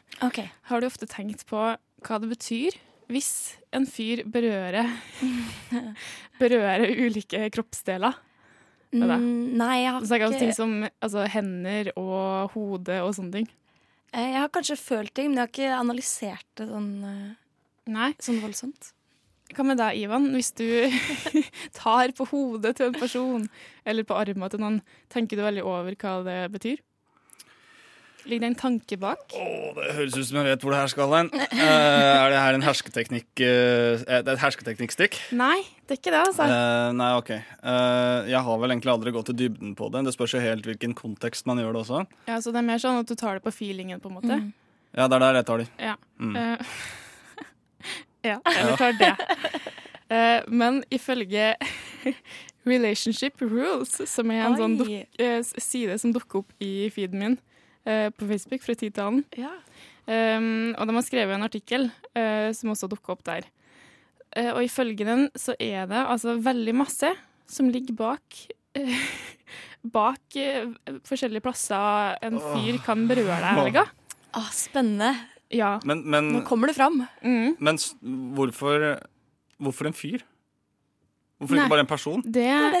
Speaker 12: Har du ofte tenkt på hva det betyr hvis en fyr berører, berører ulike kroppsdeler? ved deg?
Speaker 13: Mm, nei, jeg har
Speaker 12: Nå snakker jeg om
Speaker 13: ikke-
Speaker 12: ting som altså, hender og hode og sånne ting.
Speaker 13: Eh, Jeg har kanskje følt ting, men jeg har ikke analysert det sånn, eh, sånn voldsomt.
Speaker 12: Hva med deg, Ivan? Hvis du tar på hodet til en person, eller på armen til noen, tenker du veldig over hva det betyr? Ligger det en tanke bak?
Speaker 14: Det høres ut som jeg vet hvor det her skal hen. Eh, er det her en hersketeknikk eh, eh, Det er et hersketeknikkstikk?
Speaker 12: Nei, det er ikke det, altså.
Speaker 14: Eh, nei, OK. Eh, jeg har vel egentlig aldri gått i dybden på det. Det spørs jo helt hvilken kontekst man gjør det også.
Speaker 12: Ja, så det er mer sånn at du tar det på feelingen, på en måte.
Speaker 14: Ja, det er der jeg tar de.
Speaker 12: Ja.
Speaker 14: Mm.
Speaker 12: Eh, ja, eller tar det. Eh, men ifølge Relationship Rules, som er en sånn
Speaker 13: Oi.
Speaker 12: duk eh, s- side som dukker opp i feeden min eh, på Facebook fra tid til annen, Ehm, og de har skrevet en artikkel eh, som også dukka opp der. Eh, og ifølge den så er det altså veldig masse som ligger bak eh, Bak eh, forskjellige plasser en fyr kan berøre deg, Helga.
Speaker 13: Ah, spennende.
Speaker 12: Ja.
Speaker 14: Men, men, Mm.
Speaker 13: Nå kommer det fram.
Speaker 14: men s- hvorfor, hvorfor en fyr? Hvorfor
Speaker 12: Nei.
Speaker 14: ikke bare en person?
Speaker 12: Det er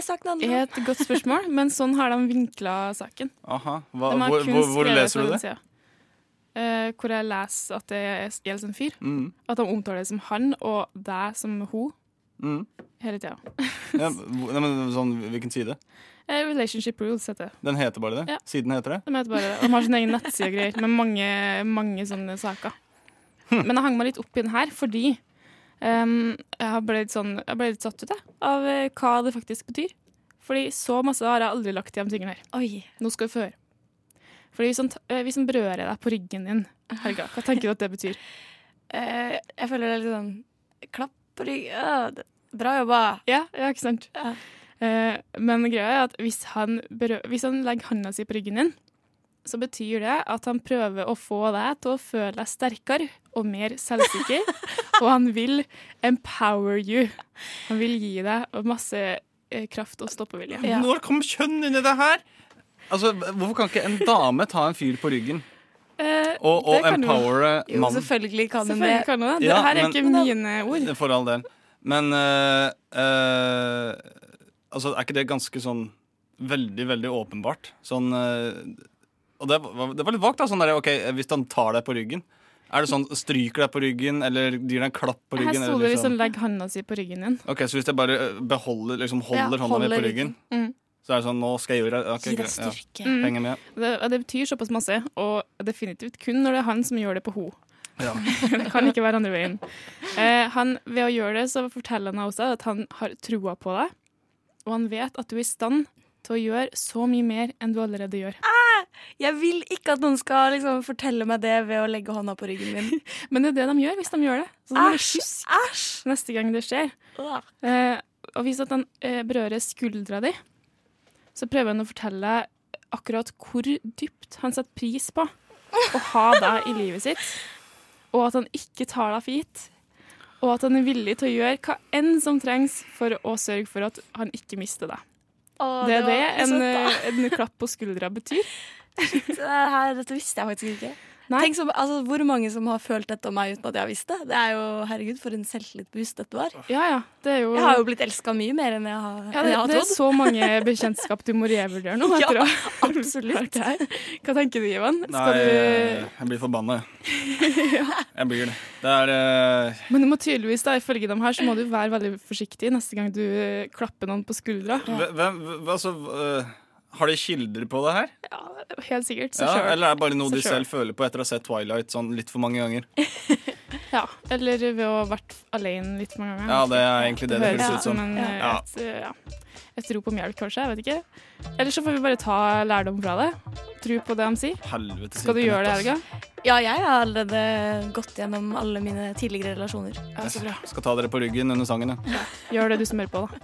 Speaker 12: et godt spørsmål, men sånn har de vinkla saken.
Speaker 14: Aha. Hva,
Speaker 12: de har
Speaker 14: hvor,
Speaker 12: kun
Speaker 14: hvor, hvor
Speaker 12: skrevet
Speaker 14: leser
Speaker 12: på
Speaker 14: du
Speaker 12: den
Speaker 14: det?
Speaker 12: siden. Eh, hvor jeg leser at det gjelder en fyr.
Speaker 14: Mm.
Speaker 12: At de omtaler det som han og deg som hun
Speaker 14: Mm.
Speaker 12: hele tida.
Speaker 14: Ja, hvor- nei, men sånn, hvilken side?
Speaker 12: Eh, Relationship rules heter det.
Speaker 14: Den heter bare det?
Speaker 12: Ja.
Speaker 14: Siden heter det?
Speaker 12: De, heter bare det. de har sin egen nettside og greier med mange, mange sånne saker. Men jeg hang meg litt opp i den her fordi ehm, jeg, har blitt sånn, jeg ble litt satt ut jeg, av eh, hva det faktisk betyr. Fordi så masse har jeg aldri lagt i de tingene her. Nå skal vi få høre. Fordi hvis han, ta- eh, hvis han berører deg på ryggen din, Helga, hva tenker du at det betyr?
Speaker 13: Eh, jeg føler det er litt sånn Klapp på ryggen. Ja, det- Bra jobba.
Speaker 12: Ja, ja ikke sant? Eh, men greia er at hvis han, berø- hvis han legger handa si på ryggen din, så betyr det at han prøver å få deg til å føle deg sterkere og mer selvsikker. og han vil empower you. Han vil gi deg masse eh, kraft og stoppevilje.
Speaker 14: Når kom kjønn inn i det her? Altså, Hvorfor kan ikke en dame ta en fyr på ryggen?
Speaker 12: Eh,
Speaker 14: Og, og
Speaker 12: det kan du-
Speaker 14: empowere mannen?
Speaker 13: selvfølgelig kan
Speaker 12: Selvfølgelig
Speaker 13: det.
Speaker 12: kan hun det.
Speaker 14: Ja,
Speaker 12: det her er
Speaker 14: men-
Speaker 12: ikke mine ord.
Speaker 14: For all del. Men eh, eh, Altså, er ikke det ganske sånn veldig, veldig åpenbart? Sånn eh, Og det var, det var litt vagt, da. Sånn der, OK, hvis han tar deg på ryggen Er det sånn stryker deg på ryggen, eller gir deg en klapp på
Speaker 12: Her
Speaker 14: ryggen?
Speaker 12: sto
Speaker 14: eller
Speaker 12: det hvis
Speaker 14: liksom-
Speaker 12: han legger handa si på ryggen din.
Speaker 14: OK, så hvis jeg bare eh, beholder, liksom holder
Speaker 12: Ja,
Speaker 14: hånda mi
Speaker 12: holder
Speaker 14: på ryggen,
Speaker 12: ryggen. Mm.
Speaker 14: så er det sånn Nå skal jeg gjøre det. Ok,
Speaker 12: Gi deg
Speaker 14: greit, ja.
Speaker 12: styrke.
Speaker 14: Henger med.
Speaker 12: Det, og det betyr såpass masse, og definitivt kun når det er han som gjør det på ho.
Speaker 14: Ja.
Speaker 12: det kan ikke være andre veien. Eh, han, ved å gjøre det, så forteller han deg også at han har trua på deg, og han vet at du er i stand til å gjøre så mye mer enn du allerede gjør.
Speaker 13: Ah, Jeg vil ikke at noen skal liksom, fortelle meg det ved å legge hånda på ryggen min.
Speaker 12: Men det er det de gjør hvis de gjør det. Så de
Speaker 13: Æsj,
Speaker 12: æsj! Neste gang det skjer. Eh, og hvis at han eh, berører skuldra di, så prøver han å fortelle deg akkurat hvor dypt han setter pris på å ha deg i livet sitt, og at han ikke tar deg for gitt. Og at han er villig til å gjøre hva enn som trengs for å sørge for at han ikke mister deg.
Speaker 13: Å,
Speaker 12: det
Speaker 13: det
Speaker 12: er
Speaker 13: var
Speaker 12: det en,
Speaker 13: søtt, da.
Speaker 12: eh, en klapp på skuldra betyr.
Speaker 13: Det her, dette visste jeg faktisk ikke. Tenk så, altså, Hvor mange som har følt dette om meg uten at jeg har visst det? Det er jo, herregud, For en selvtillitsboost dette var.
Speaker 12: Ja, ja, det er jo...
Speaker 13: Jeg har jo blitt elska mye mer enn jeg har, enn
Speaker 12: Ja, det,
Speaker 13: jeg har
Speaker 12: det er
Speaker 13: trodd.
Speaker 12: så mange bekjentskap du må revurdere nå.
Speaker 13: Ja,
Speaker 12: Etter å absolutt. Hva tenker du, Ivan? Skal
Speaker 14: Nei, eh.
Speaker 12: du...
Speaker 14: jeg blir forbanna, jeg. Jeg blir det. Det er eh,
Speaker 12: Men du må tydeligvis, da, ifølge dem her, så må du være veldig forsiktig neste gang du eh, klapper noen på skuldra.
Speaker 14: Hvem, hvem- altså, øh, har de kilder på det her?
Speaker 12: Helt sikkert. Så
Speaker 14: Ja,
Speaker 12: selv.
Speaker 14: eller er det bare noe
Speaker 12: Så
Speaker 14: de
Speaker 12: selv.
Speaker 14: selv føler på etter å ha sett Twilight sånn litt for mange ganger?
Speaker 12: Ja, eller ved å ha vært alene litt mange ganger.
Speaker 14: Ja, det er egentlig det det
Speaker 12: høres
Speaker 14: høres ut som.
Speaker 12: en, eh,
Speaker 14: Ja.
Speaker 12: et, eh, ja. et rop om hjelp, kanskje. Jeg vet ikke. Eller så får vi bare ta lærdom fra det. Tro på det de sier.
Speaker 14: Helvetes
Speaker 12: Skal du gjøre det, Helga?
Speaker 14: internett,
Speaker 13: Ja, jeg har allerede gått gjennom alle mine tidligere relasjoner.
Speaker 14: ass. Jeg Skal ta dere på ryggen under sangen, ja.
Speaker 12: Gjør det, du som hører på, da.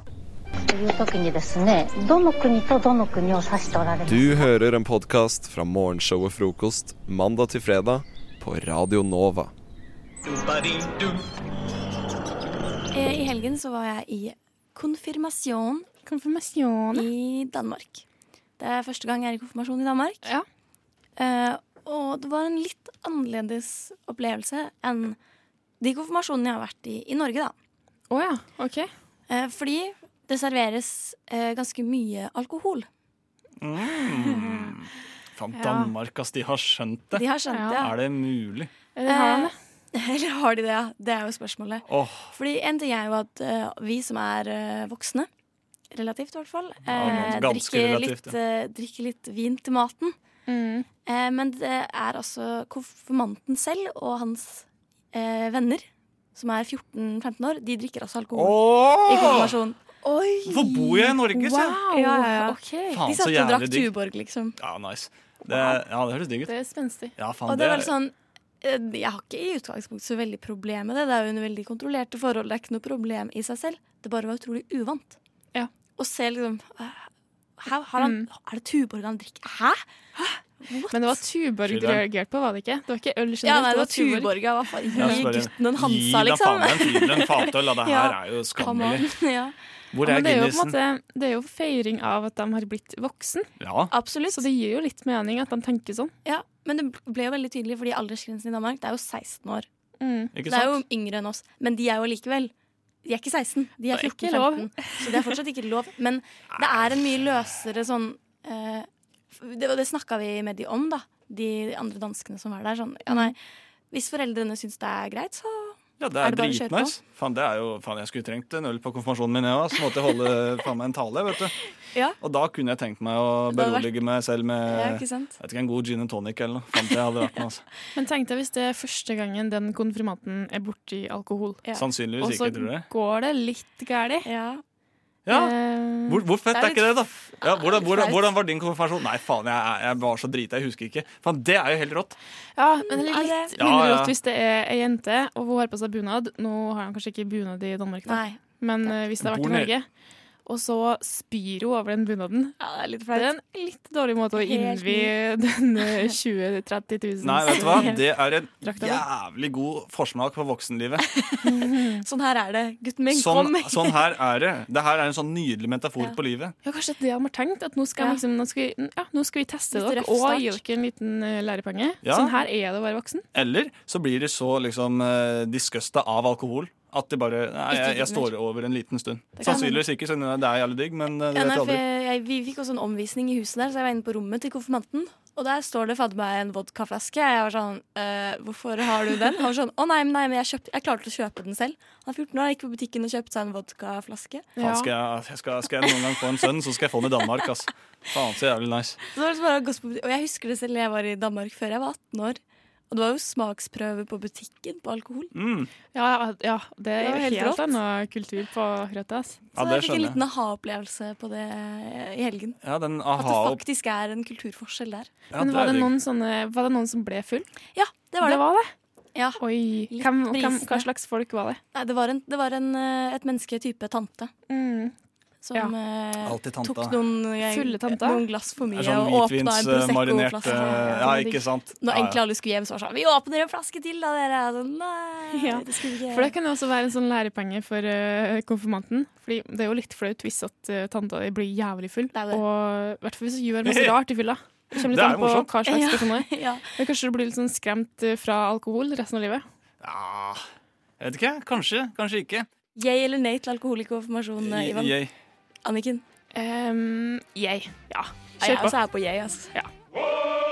Speaker 15: という時にですねどの国とどの国を指しておられます
Speaker 7: Du hører en podkast fra morgenshowet Frokost mandag til fredag på Radio Nova.
Speaker 4: Du-ba-di-du.
Speaker 13: Eh, I helgen så var jeg i konfirmasjon. I Danmark. Det er første gang jeg er i konfirmasjon i Danmark. Eh, og det var en litt annerledes opplevelse enn de konfirmasjonene jeg har vært i i Norge, da.
Speaker 12: Oh, ja. ok
Speaker 13: eh, Fordi det serveres eh, ganske mye alkohol.
Speaker 14: Mm. Faen,
Speaker 13: Ja.
Speaker 14: Danmark, ass. De har skjønt det.
Speaker 13: De har skjønt det, ja.
Speaker 14: Er det mulig?
Speaker 13: Eh, Eller har de det? ja? Det er jo spørsmålet.
Speaker 14: Åh,
Speaker 13: Fordi en ting er jo at eh, vi som er eh, voksne, relativt i hvert fall,
Speaker 3: Ja,
Speaker 13: eh,
Speaker 3: ganske
Speaker 13: drikker,
Speaker 3: relativt,
Speaker 13: litt,
Speaker 3: ja.
Speaker 13: eh, drikker litt vin til maten. Eh, men det er altså konfirmanten selv og hans eh, venner, som er 14-15 år, de drikker altså alkohol i konfirmasjon.
Speaker 14: Hvorfor bor jeg i Norge, sier jeg? Wow.
Speaker 13: Ja, ja, ja.
Speaker 14: Faen,
Speaker 13: De
Speaker 14: så
Speaker 13: satt og
Speaker 14: jævlig
Speaker 13: drakk
Speaker 14: digg.
Speaker 13: Tuborg, liksom.
Speaker 14: ja, nice. Det, ja, det høres digg ut.
Speaker 12: Det er spenstig.
Speaker 14: Ja, faen,
Speaker 13: Og det var
Speaker 14: er-
Speaker 13: litt sånn eh, Jeg har ikke i utgangspunktet så veldig problem med det. Det er jo under veldig kontrollerte forhold. Det er ikke noe problem i seg selv. Det bare var utrolig uvant. Å se liksom eh, Hæ, har han, Er det Tuborg han drikker? Hæ?!
Speaker 12: Men det var Tuborg du
Speaker 13: Skyld, ja.
Speaker 12: reagerte på, var det ikke? Det var ikke øl generelt,
Speaker 13: Ja, nei, det var Tuborg. Ja, hva faen?
Speaker 14: Ja,
Speaker 13: Gi
Speaker 14: så bare-
Speaker 13: gutten en Hansa,
Speaker 14: Gi da faen
Speaker 13: liksom.
Speaker 14: meg en tydel en fatøl, da. Det her
Speaker 12: Ja.
Speaker 14: er jo
Speaker 12: Come on.
Speaker 14: skammelig.
Speaker 13: ja.
Speaker 14: Hvor er
Speaker 12: Ja, men det er, jo på en
Speaker 14: Guinnessen?
Speaker 12: måte, det er jo feiring av at de har blitt voksen.
Speaker 14: Ja.
Speaker 13: Absolutt.
Speaker 12: Så det gir jo litt mening at de tenker sånn.
Speaker 13: Ja, men det ble jo veldig tydelig, fordi aldersgrensen i Danmark det er jo 16 år.
Speaker 12: Ikke
Speaker 13: Det er jo
Speaker 12: sant?
Speaker 13: yngre enn oss, men de er jo likevel De er ikke 16, de er
Speaker 12: Det er ikke
Speaker 13: 14-15. Så det er fortsatt ikke lov. Men det er en mye løsere sånn eh, Det, og det snakka vi med de om, da. De andre danskene som var der. Sånn, ja, nei, hvis foreldrene syns det er greit, så
Speaker 14: Ja, det
Speaker 13: Er
Speaker 14: er,
Speaker 13: det bare å kjøre på?
Speaker 14: dritnice. Faen, det er jo, faen, jeg skulle trengt en øl på konfirmasjonen min, jeg òg. Så måtte jeg holde faen meg en tale, vet du.
Speaker 13: Ja.
Speaker 14: Og da kunne jeg tenkt meg å
Speaker 12: Det hadde vært-
Speaker 14: berolige meg selv
Speaker 12: Ja,
Speaker 14: med
Speaker 12: ikke sant?
Speaker 14: jeg vet ikke, en god gin and tonic eller noe. Fant jeg hadde vært med, altså.
Speaker 12: Men tenk deg hvis det er første gangen den konfirmanten er borti alkohol.
Speaker 14: Sannsynligvis
Speaker 12: Og så
Speaker 14: ikke, tror jeg.
Speaker 12: går det litt gærlig.
Speaker 14: Ja.
Speaker 12: Eh,
Speaker 14: Hvor, hvor fett
Speaker 12: det
Speaker 14: er,
Speaker 12: er
Speaker 14: ikke det,
Speaker 12: litt
Speaker 14: da? Ja, hvordan,
Speaker 12: litt
Speaker 14: hvordan,
Speaker 12: flaut.
Speaker 14: hvordan var din konfirmasjon? Nei, faen, jeg, er- jeg var så drita, jeg husker ikke. Faen, det er jo helt rått.
Speaker 12: Ja, men det er litt
Speaker 14: Ja,
Speaker 12: mindre
Speaker 14: ja.
Speaker 12: rått hvis det er ei jente og hun har på seg bunad. Nå har hun kanskje ikke bunad i Danmark, da.
Speaker 13: Nei.
Speaker 12: men eh, hvis det har vært
Speaker 13: Bor
Speaker 12: i
Speaker 13: ned-
Speaker 12: Norge. Og så spyr hun over den bunaden.
Speaker 13: Ja, Det er litt
Speaker 12: Det er en litt dårlig måte å
Speaker 13: Helt
Speaker 12: innvie den eh, 20 000-30 000
Speaker 14: Nei, vet du hva? Det er en
Speaker 12: Drakta
Speaker 14: jævlig god forsmak på voksenlivet.
Speaker 13: Sånn her er det, gutten min.
Speaker 14: Sånn,
Speaker 13: kom.
Speaker 14: sånn her er det. Det her er en sånn nydelig metafor
Speaker 12: Ja.
Speaker 14: på livet.
Speaker 12: Ja, kanskje det han har tenkt. At nå skal,
Speaker 13: Ja.
Speaker 12: liksom, nå skal, vi, ja, nå skal vi teste
Speaker 13: Litt
Speaker 12: dere
Speaker 13: røff
Speaker 12: og
Speaker 13: start.
Speaker 12: gi dere en liten eh, lærepenge.
Speaker 14: Ja.
Speaker 12: Sånn her er det å være voksen.
Speaker 14: Eller så blir de så liksom eh, disgusta av alkohol at de bare Nei, jeg,
Speaker 13: Ikke
Speaker 14: jeg
Speaker 13: gidder.
Speaker 14: står over en liten stund.
Speaker 13: Det kan
Speaker 14: Sannsynligvis ikke, så det er jævlig digg, men eh, det
Speaker 13: Ja, nei,
Speaker 14: vet jeg
Speaker 13: for
Speaker 14: aldri.
Speaker 13: jeg, jeg, vi fikk også en omvisning i huset der, så jeg var inne på rommet til konfirmanten. Og der står det fader meg en vodkaflaske. Jeg var sånn «Eh, Hvorfor har du den? Han var sånn Å nei, men nei, men jeg, kjøpte- jeg klarte å kjøpe den selv. Han er 14 år, gikk på butikken og kjøpte seg en vodkaflaske.
Speaker 14: Faen, skal, jeg, jeg skal, skal jeg noen gang få en sønn, så skal jeg få den i Danmark. Ass. Faen, så jævlig nice.
Speaker 13: Så var det bare å gå på buti- og jeg husker det selv jeg var i Danmark før jeg var 18 år. Og det var jo smaksprøve på butikken på alkohol.
Speaker 14: Mm.
Speaker 12: Ja, ja, det er
Speaker 13: Det var
Speaker 12: jo
Speaker 13: helt
Speaker 12: helt,
Speaker 13: rått.
Speaker 12: annen kultur på Grøtta.
Speaker 13: Så
Speaker 14: Ja, det
Speaker 13: jeg fikk en
Speaker 14: skjønner jeg.
Speaker 13: liten aha-opplevelse på det i helgen.
Speaker 14: Ja, den
Speaker 13: At det
Speaker 14: aha-opp...
Speaker 13: faktisk er en kulturforskjell der.
Speaker 14: Ja,
Speaker 12: Men
Speaker 14: det
Speaker 12: var
Speaker 14: er
Speaker 12: det,
Speaker 14: digg.
Speaker 12: noen sånne, var det noen som ble full?
Speaker 13: Ja, det var det. Ja.
Speaker 12: Oi, hvem, hvem,
Speaker 13: brisende.
Speaker 12: Hva slags folk var det?
Speaker 13: Nei, det var, en, det var en, eh, et menneske type tante. Som
Speaker 12: Mm. Ja.
Speaker 13: eh,
Speaker 14: Alltid tante.
Speaker 13: tok noen, eh,
Speaker 12: Fulle tante.
Speaker 13: noen glass for mye
Speaker 14: Det er sånn
Speaker 13: og åpna en
Speaker 14: hvitvinsmarinert,
Speaker 13: Prosecco-flaske.
Speaker 14: eh, ja, ikke sant.
Speaker 13: Når
Speaker 14: Ja, ja.
Speaker 13: egentlig alle skulle hjem, så var det sånn Vi åpner en flaske til, da, dere. Jeg er Sånn, Nei, det skulle vi ikke
Speaker 12: For det kan jo også være en sånn lærepenge for eh, konfirmanten. Fordi det er jo litt flaut hvis at eh, tanta di blir jævlig full. Og i hvert fall hvis du gjør masse rart i fylla. Det kommer litt
Speaker 14: Det er
Speaker 12: an på
Speaker 14: morsomt.
Speaker 12: hva slags
Speaker 14: Ja,
Speaker 12: person du er. Men Kanskje du blir litt sånn skremt eh, fra alkohol resten av livet.
Speaker 14: Ah, jeg vet ikke. Kanskje, kanskje ikke.
Speaker 13: Yay eller nei til alkoholikonfirmasjon, eh, Ivan?
Speaker 14: Jeg,
Speaker 13: Anniken?
Speaker 12: jeg. Ja.
Speaker 13: Kjør på.
Speaker 12: Kjør
Speaker 13: Jeg
Speaker 12: på.
Speaker 13: også er på jeg, altså.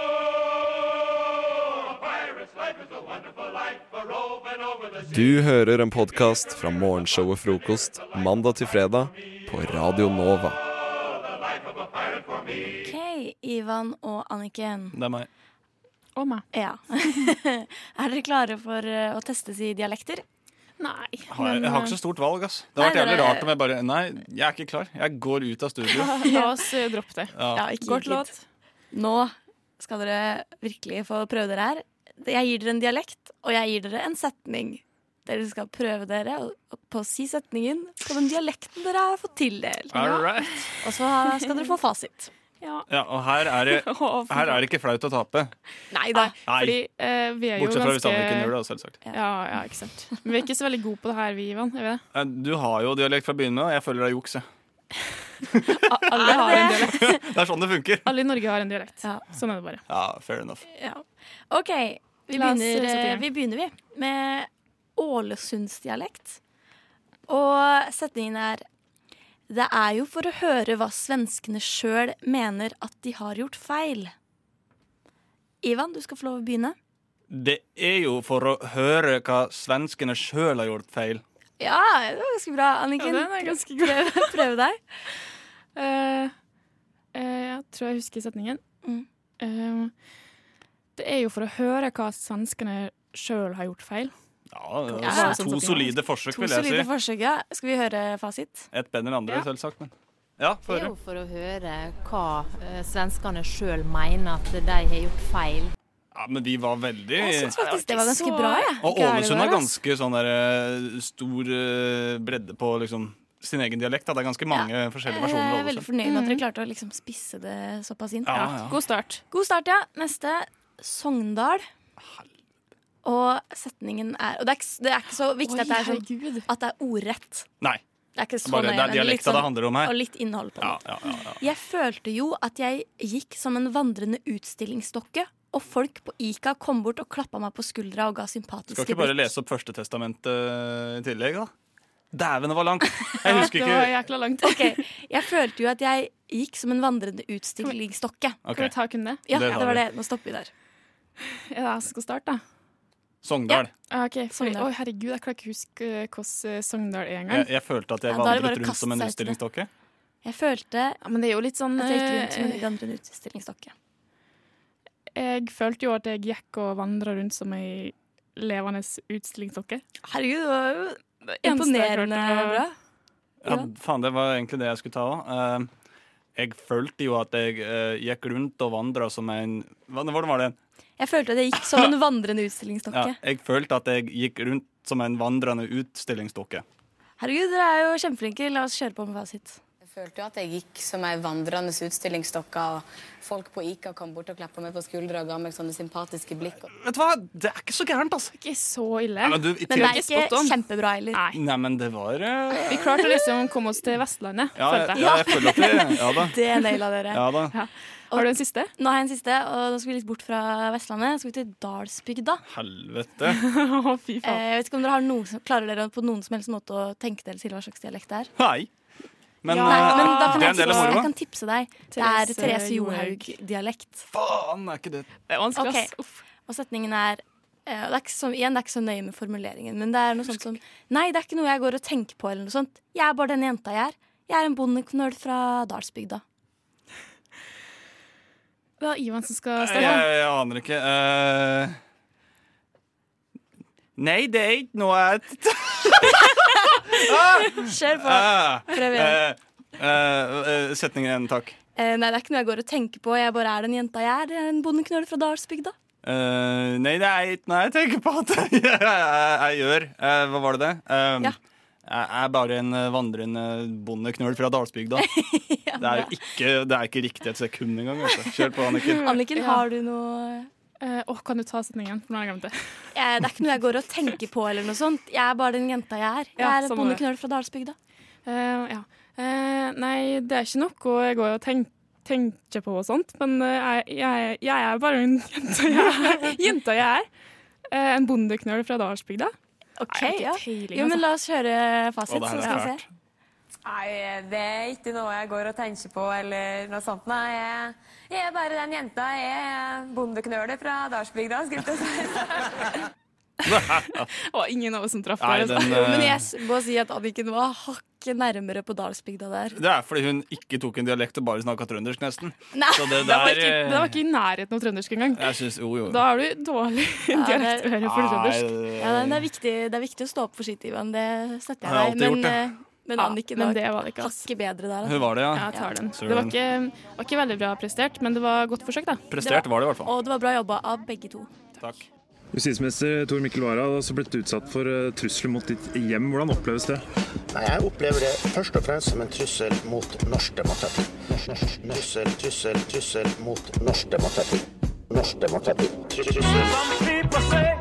Speaker 7: Du hører en podkast fra morgenshowet Frokost mandag til fredag på Radio Nova.
Speaker 13: OK, Ivan og Anniken.
Speaker 14: det er meg.
Speaker 12: Og meg.
Speaker 13: Ja. er dere klare for eh, å testes i dialekter?
Speaker 12: Nei.
Speaker 14: Har jeg, jeg har ikke så stort valg, ass. Det
Speaker 13: eh, Nei,
Speaker 14: hadde vært jævlig
Speaker 13: dere-
Speaker 14: rart om jeg bare Nei, jeg er ikke klar. Jeg går ut av studio.
Speaker 12: La oss eh, droppe det.
Speaker 14: Ja. Ja, ikke
Speaker 13: Kort låt. Nå skal dere virkelig få prøve dere her. Jeg gir dere en dialekt, og jeg gir dere en setning. Dere skal prøve dere på å si setningen på den dialekten dere har fått tildelt.
Speaker 14: All right.
Speaker 13: Og så har- skal dere få fasit.
Speaker 12: Ja.
Speaker 14: Ja, og her er, det, her er det ikke flaut å tape.
Speaker 12: Nei da.
Speaker 14: Ah, Nei.
Speaker 12: Fordi eh, vi er jo
Speaker 14: Bortsett fra hvis
Speaker 12: ganske
Speaker 14: Anniken gjør det, da, selvsagt.
Speaker 12: Ja, ja, ikke sant. Men vi er ikke så veldig gode på det her, vi, Ivan. Er vi det?
Speaker 14: Eh, Du har jo dialekt fra begynnelsen, og jeg føler det er juks. jeg.
Speaker 12: Alle, har en dialekt.
Speaker 14: Det er sånn det funker.
Speaker 12: Alle i Norge har en dialekt. Sånn er det bare.
Speaker 14: Ja, fair enough.
Speaker 13: Ja. OK, vi
Speaker 12: La oss,
Speaker 13: begynner,
Speaker 12: eh, sette i
Speaker 13: eh,
Speaker 12: gang.
Speaker 13: vi begynner vi med ålesundsdialekt. Og setningen er Det er jo for å høre hva svenskene sjøl mener at de har gjort feil. Ivan, du skal få lov å begynne.
Speaker 14: Det er jo for å høre hva svenskene sjøl har gjort feil.
Speaker 13: Ja, det var ganske bra, Anniken.
Speaker 12: Ja, den er ganske
Speaker 13: god. Prøv, prøv deg.
Speaker 12: Eh, eh, jeg tror jeg husker setningen.
Speaker 13: Mm.
Speaker 12: Eh, det er jo for å høre hva svenskene sjøl har gjort feil.
Speaker 14: Ja, det
Speaker 13: Ja.
Speaker 14: var sånn To solide forsøk,
Speaker 13: To
Speaker 14: vil jeg
Speaker 13: solide
Speaker 14: si.
Speaker 13: forsøk, ja. Skal vi høre fasit?
Speaker 14: Et bedre enn andre,
Speaker 13: Ja.
Speaker 14: selvsagt. Men. Ja, få
Speaker 16: Det er
Speaker 14: høre.
Speaker 16: jo for å høre hva eh, svenskene sjøl mener at de har gjort feil.
Speaker 14: Ja, men de var veldig
Speaker 13: faktisk det var ganske bra, jeg.
Speaker 14: Og
Speaker 13: Ikke er det
Speaker 14: Ålesund
Speaker 13: der,
Speaker 14: har
Speaker 13: ass.
Speaker 14: ganske sånn der, eh, stor eh, bredde på liksom, sin egen dialekt. Da. Det er ganske mange
Speaker 13: Jeg
Speaker 14: forskjellige versjoner.
Speaker 13: er
Speaker 14: av
Speaker 13: Eh, veldig
Speaker 14: Ålesund.
Speaker 13: fornøyd med at dere klarte å liksom spisse det såpass inn.
Speaker 14: Ja, ja.
Speaker 12: Mm. God start.
Speaker 13: God start, ja. Neste Sogndal. Og setningen er Og det er ikke, det er ikke så viktig
Speaker 12: Oi,
Speaker 13: at det er sånn At det er ordrett.
Speaker 14: Nei.
Speaker 13: Det er ikke så
Speaker 14: Bare-
Speaker 13: nøye.
Speaker 14: det er
Speaker 13: men
Speaker 14: dialekta
Speaker 13: litt sånn-
Speaker 14: det handler om her.
Speaker 13: Og litt innhold på
Speaker 14: Ja,
Speaker 13: den.
Speaker 14: ja, ja, ja.
Speaker 13: Jeg følte jo at jeg gikk som en vandrende utstillingsdokke, og folk på Ica kom bort og klappa meg på skuldra og ga sympatiske
Speaker 14: Skal ikke bare lese opp Førstetestamentet i tillegg, da? Dæven, det var langt! Jeg husker ikke
Speaker 12: jækla langt.
Speaker 13: Jeg følte jo at jeg gikk som en vandrende utstillingsdokke.
Speaker 14: Ok. Kan vi
Speaker 12: ta kun det?
Speaker 13: Ja,
Speaker 14: Det
Speaker 13: det,
Speaker 14: tar vi.
Speaker 13: var det. Nå stopper vi der.
Speaker 12: Ja, jeg skal starte, da.
Speaker 14: Sogndal.
Speaker 12: Ja, Ah, ok, for,
Speaker 13: Sogndal.
Speaker 12: Oi, herregud, jeg klarer ikke å huske eh, hvordan eh, Sogndal er engang.
Speaker 14: Jeg, jeg følte at jeg
Speaker 12: Ja, da er det bare
Speaker 14: vandret
Speaker 12: å
Speaker 14: rundt som en
Speaker 12: kaste seg ut i det.
Speaker 14: utstillingsdokke.
Speaker 13: Jeg følte
Speaker 12: ja, Men det er jo litt sånn
Speaker 13: at jeg gikk rundt som en
Speaker 12: eh,
Speaker 13: vandrende utstillingsdokke.
Speaker 12: Jeg følte jo at jeg gikk og vandra rundt som ei levende utstillingsdokke.
Speaker 13: Herregud, det var jo
Speaker 12: imponerende bra.
Speaker 14: Ja, faen, det var egentlig det jeg skulle ta òg. Jeg følte jo at jeg eh, gikk rundt og vandra som en Hva hvordan var det?
Speaker 13: Jeg følte at jeg gikk som en vandrende utstillingsdokke.
Speaker 14: Ja, jeg følte at jeg gikk rundt som en vandrende utstillingsdokke.
Speaker 13: Herregud, dere er jo kjempeflinke. La oss kjøre på med fasit.
Speaker 17: Jeg følte jo at jeg gikk som ei vandrende utstillingsdokke. og Folk på Ica kom bort og klappa meg på skuldra og ga meg sånne sympatiske blikk.
Speaker 14: Vet du hva, det er ikke så gærent, altså.
Speaker 12: Ikke så ille.
Speaker 14: Ja, men du, i Men det er tillegg- ikke
Speaker 13: kjempebra heller.
Speaker 12: Nei.
Speaker 14: Nei, men det var eh,
Speaker 12: Vi klarte å liksom komme oss til Vestlandet,
Speaker 14: Ja,
Speaker 12: følte jeg.
Speaker 14: ja, jeg føler at det Ja da.
Speaker 13: Det naila dere.
Speaker 14: Ja da.
Speaker 12: Har du en siste?
Speaker 13: Nå har jeg en siste, og nå skal vi litt bort fra Vestlandet. Skal vi til Dalsbygda.
Speaker 14: Helvete.
Speaker 12: Fy
Speaker 13: Eh, Jeg vet ikke om dere har noen, som- Klarer dere på noen som helst måte å tenke dere til hva slags dialekt det er?
Speaker 14: Hei. Men,
Speaker 13: Nei,
Speaker 14: eh,
Speaker 13: men da kan
Speaker 14: det
Speaker 13: jeg,
Speaker 14: er en del av
Speaker 13: tipse, jeg
Speaker 14: moroa.
Speaker 13: kan tipse deg.
Speaker 12: Therese
Speaker 13: det er Therese
Speaker 12: Johaug.
Speaker 13: Johaug-dialekt.
Speaker 14: Faen, er ikke det
Speaker 12: Det er vanskelig, ass.
Speaker 13: Og setningen er eh, og det er, ikke så, igjen, det er ikke så nøye med formuleringen, men det er noe sånt som Nei, det er ikke noe jeg går og tenker på, eller noe sånt. Jeg er bare den jenta jeg er. Jeg er en bondeknøl fra Dalsbygda.
Speaker 12: Det er Ivan som skal
Speaker 14: Jeg,
Speaker 12: starte.
Speaker 14: jeg aner ikke. Eh, Nei, det er ikke noe jeg
Speaker 13: Kjør på.
Speaker 14: Ah,
Speaker 13: Prøv igjen.
Speaker 14: eh, eh, eh, Setningen igjen, takk.
Speaker 13: Eh, nei, det er ikke noe jeg går og tenker på. Jeg bare er den jenta jeg er. Jeg er en bondeknøl fra Dalsbygda.
Speaker 14: Eh, nei, det er ikke noe jeg tenker på at jeg, jeg, jeg gjør. Eh, hva var det det? Eh, Jeg er bare en eh, vandrende bondeknøl fra Dalsbygda. det, er jo ikke, det er ikke riktig et sekund engang. Altså. Kjør på, Anniken.
Speaker 13: Anniken, har du noe
Speaker 12: Eh, Åh, kan du ta setningen? For nå har jeg glemt det.
Speaker 13: Eh, Det er ikke noe jeg går og tenker på, eller noe sånt. Jeg er bare den jenta jeg er. Jeg er
Speaker 12: Ja,
Speaker 13: en
Speaker 12: samme det.
Speaker 13: bondeknøl fra Dalsbygda.
Speaker 12: Eh, ja. Eh, nei, det er ikke noe jeg går og tenk, tenker på og sånt, men eh, jeg, jeg, jeg er bare en jenta jeg er. jenta jeg er. Eh, en bondeknøl fra Dalsbygda.
Speaker 13: Ok,
Speaker 12: Nei, jeg
Speaker 13: ja.
Speaker 12: har ikke peiling,
Speaker 13: Jo, men
Speaker 12: altså.
Speaker 13: la oss høre fasit,
Speaker 12: Å, det her
Speaker 13: så
Speaker 12: er
Speaker 13: skal vi
Speaker 12: fælt.
Speaker 13: se.
Speaker 18: Nei, det er ikke noe jeg går og tenker på eller noe sånt. Nei, jeg, jeg er bare den jenta. Jeg er bondeknølet fra Dalsbygda, skulle jeg til å si.
Speaker 12: altså. Det var ingen av oss som traff
Speaker 14: Nei,
Speaker 12: der, altså.
Speaker 14: den, eh,
Speaker 13: Men jeg s- må si at Anniken var hakket nærmere på Dalsbygda der.
Speaker 14: Det er fordi hun ikke tok en dialekt og bare snakka trøndersk, nesten.
Speaker 13: Nei.
Speaker 14: Så det
Speaker 12: Det var,
Speaker 14: der
Speaker 12: ikke,
Speaker 14: eh,
Speaker 12: det var ikke i nærheten av trøndersk engang.
Speaker 14: Jeg synes, jo, jo.
Speaker 12: Da har du dårlig dialekt å høre for trøndersk.
Speaker 14: Nei,
Speaker 13: Ja, men det, er viktig, det er viktig å stå opp for sitt, Ivan. Det støtter
Speaker 14: Jeg har
Speaker 13: jeg
Speaker 14: alltid
Speaker 13: deg.
Speaker 14: gjort
Speaker 13: Men,
Speaker 14: det.
Speaker 13: eh, men Anniken
Speaker 12: men
Speaker 13: var,
Speaker 12: det var det ikke,
Speaker 13: hakket bedre der. altså.
Speaker 14: Hun var det, ja.
Speaker 12: Jeg tar den.
Speaker 14: Søren.
Speaker 12: Det var ikke, var ikke veldig bra prestert, men det var godt forsøk, da.
Speaker 14: Prestert var det i hvert fall.
Speaker 13: Og det var bra jobba av begge to.
Speaker 14: Takk.
Speaker 19: Justisminister Tor Mikkel Wara har også blitt utsatt for eh, trusler mot ditt hjem. Hvordan oppleves det?
Speaker 20: Nei, Jeg opplever det først og fremst som en trussel mot norsk demokrati. Norsk- norsk- Trussel, trussel, trussel mot norsk demokrati. Norsk demokrati. Trussel.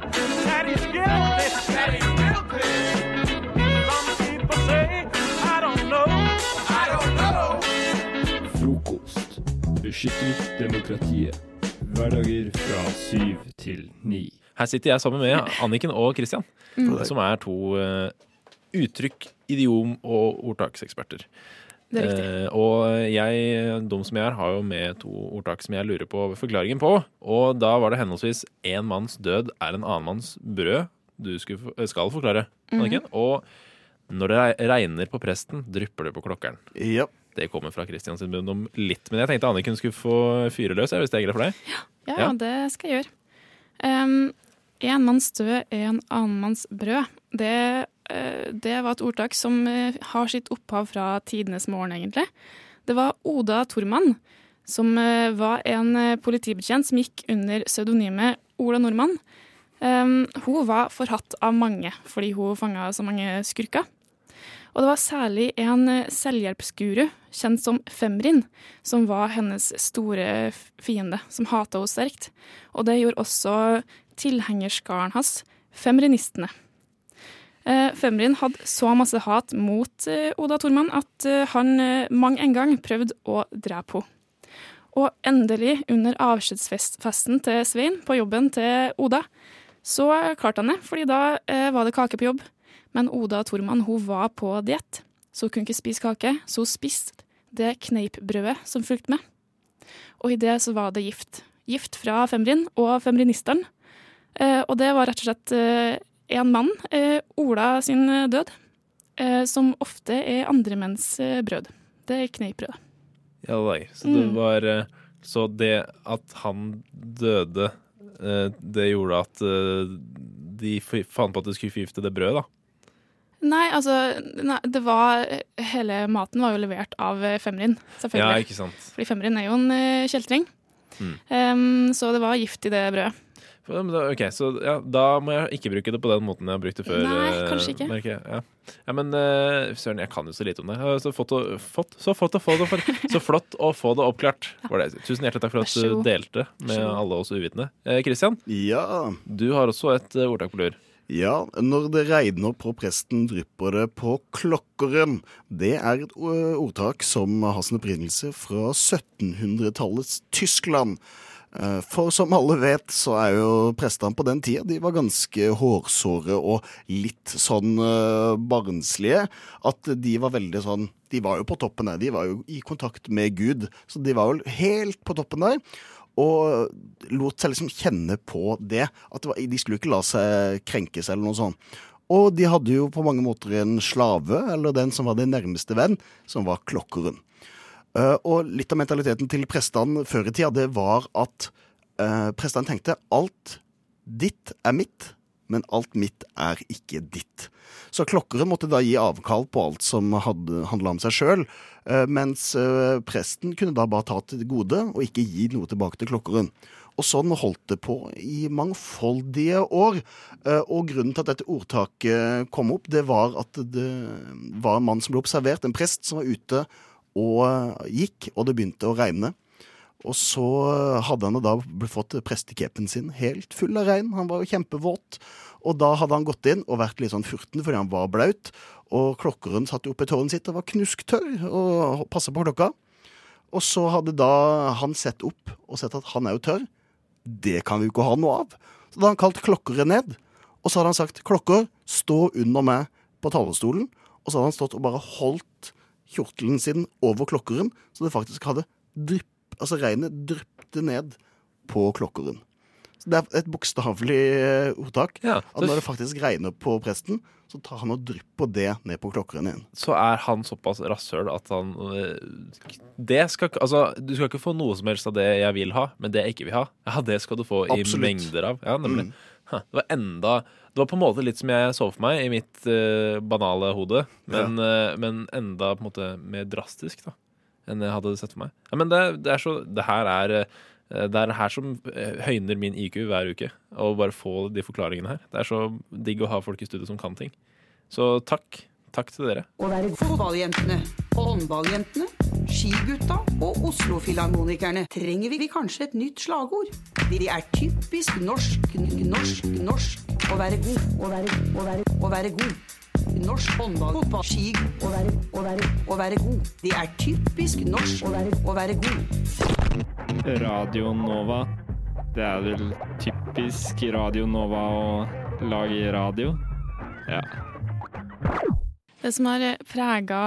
Speaker 21: Frokost. Beskytter demokratiet. Hverdager fra syv til ni.
Speaker 22: Her sitter jeg sammen med Anniken og Christian,
Speaker 12: Mm.
Speaker 22: som er to eh, uttrykk, idiom og ordtakseksperter.
Speaker 12: Det er riktig.
Speaker 22: Eh, og jeg, dum som jeg er, har jo med to ordtak som jeg lurer på forklaringen på. Og da var det henholdsvis 'én manns død er en annen manns brød' du skulle, eh, skal forklare,
Speaker 12: Mhm.
Speaker 22: Anniken. Og 'når det re- regner på presten, drypper det på klokkeren'. Det kommer fra Christian sin munn om litt. Men jeg tenkte Anniken skulle få fyre løs, jeg, hvis det er greit for deg?
Speaker 12: Ja,
Speaker 22: Ja.
Speaker 12: det skal jeg gjøre. Em, en manns død er en annen manns brød. Det, eh, det var et ordtak som eh, har sitt opphav fra tidenes morgen, egentlig. Det var Oda Tormann, som eh, var en eh, politibetjent som gikk under pseudonymet Ola Nordmann. Em, hun var forhatt av mange fordi hun fanga så mange skurker. Og det var særlig en eh, selvhjelpsguru, kjent som Femrin, som var hennes store f- fiende, som hata henne sterkt. Og det gjorde også tilhengerskaren hans, femrinistene. Eh, Femrin hadde så masse hat mot eh, Oda Tormann at eh, han eh, mang en gang prøvde å drepe henne. Og endelig, under avskjedsfesten til Svein på jobben til Oda, så klarte han det, fordi da eh, var det kake på jobb. Men Oda Tormann hun var på diett, så hun kunne ikke spise kake. Så hun spiste det kneipbrødet som fulgte med. Og i det så var det gift. Gift fra Femrin og Femrinisteren. Eh, og det var rett og slett én mann, eh, Ola sin eh, død, eh, som ofte er andre menns eh, brød. Det er kneipbrødet.
Speaker 22: Ja, det var jeg. Så det
Speaker 12: Mm.
Speaker 22: var eh, Så det at han døde, eh, det gjorde at eh, de f- fant på at de skulle forgifte det brødet, da.
Speaker 12: Nei, altså nei, det var, Hele maten var jo levert av eh, Femrin, selvfølgelig.
Speaker 22: Ja, ikke sant.
Speaker 12: Fordi Femrin er jo en eh, kjeltring.
Speaker 22: Mm.
Speaker 12: Em, så det var gift i det brødet.
Speaker 22: For- men da- Ok, så ja, da må jeg ikke bruke det på den måten jeg har brukt det før.
Speaker 12: Nei,
Speaker 22: eh,
Speaker 12: kanskje ikke.
Speaker 22: merker jeg. Ja. ja, men eh, søren, jeg kan jo så lite om det. Eh, Så flott å, flott, så flott å få det for, Så flott å få det oppklart, var det jeg sier. Tusen hjertelig takk for
Speaker 4: Vær
Speaker 22: at
Speaker 4: så
Speaker 22: du
Speaker 4: god.
Speaker 22: delte med
Speaker 4: Vær så god.
Speaker 22: alle oss uvitende. Kristian,
Speaker 4: Ja.
Speaker 22: du har også et eh, ordtak på lur.
Speaker 5: Ja, når det regner på presten, drypper det på klokkeren. Det er et ø, ordtak som har sin opprinnelse fra 1700-tallets Tyskland. Eh, For som alle vet, så er jo prestene på den tida de var ganske hårsåre og litt sånn eh, barnslige. At de var veldig sånn De var jo på toppen der. De var jo i kontakt med Gud. Så de var jo helt på toppen der. Og lot seg liksom kjenne på det. At det var, de skulle ikke la seg krenkes eller noe sånt. Og de hadde jo på mange måter en slave, eller den som var den nærmeste venn, som var klokkeren. Eh, og litt av mentaliteten til prestene før i tida, det var at eh, prestene tenkte alt ditt er mitt, men alt mitt er ikke ditt. Så klokkeren måtte da gi avkall på alt som handla om seg sjøl, mens eh, presten kunne da bare ta til det gode og ikke gi noe tilbake til klokkeren. Og sånn holdt det på i mangfoldige år. Eh, Og grunnen til at dette ordtaket kom opp, det var at det var en mann som ble observert, en prest som var ute og eh, gikk, og det begynte å regne. Og så eh, hadde han jo da bl- fått prestekepen sin helt full av regn. Han var jo kjempevåt. Og da hadde han gått inn og vært litt sånn furten fordi han var blaut. Og klokkeren satt jo oppe i tårnet sitt og var knusktørr og passa på klokka. Og så hadde da han sett opp og sett at han er jo tørr. Det kan vi jo ikke ha noe av. Så da hadde han kalt klokkere ned. Og så hadde han sagt 'klokker, stå under meg på talerstolen'. Og så hadde han stått og bare holdt kjortelen sin over klokkeren, så det faktisk hadde drypp, altså regnet dryppte ned på klokkeren. Så det er et bokstavelig eh, ordtak. at
Speaker 22: så-
Speaker 5: når det faktisk regner på presten, så tar han og drypper det ned på klokkeren igjen.
Speaker 22: så er han såpass rasshøl at han øh, det skal, ikke- altså, Du skal ikke få noe som helst av det jeg vil ha, men det jeg ikke vil ha, ja, det skal du få
Speaker 5: Absolutt.
Speaker 22: i mengder av. Ja, nemlig.
Speaker 5: Mm.
Speaker 22: Ha, det var enda Det var på en måte litt som jeg så for meg i mitt øh, banale hode, men, øh, men enda på en måte mer drastisk da enn jeg hadde sett for meg. Ja, men det, det er så Det her er øh, Eh, Det er her som eh, høyner min IQ hver uke, å bare få de forklaringene her. Det er så digg å ha folk i studio som kan ting. Så takk. Takk til dere.
Speaker 2: Å være fotballjentene, håndballjentene, skigutta og Oslo-filharmonikerne trenger vi kanskje et nytt slagord. De er typisk norsk, n- norsk, norsk. Å være god, å være, å være, å være god. Norsk håndball, fotball, ski. Å være, å være, å være god. De er typisk norsk å være, å være god.
Speaker 21: Radio Nova. Det er vel typisk Radio Nova å lage radio? Ja.
Speaker 12: Det som har eh, prega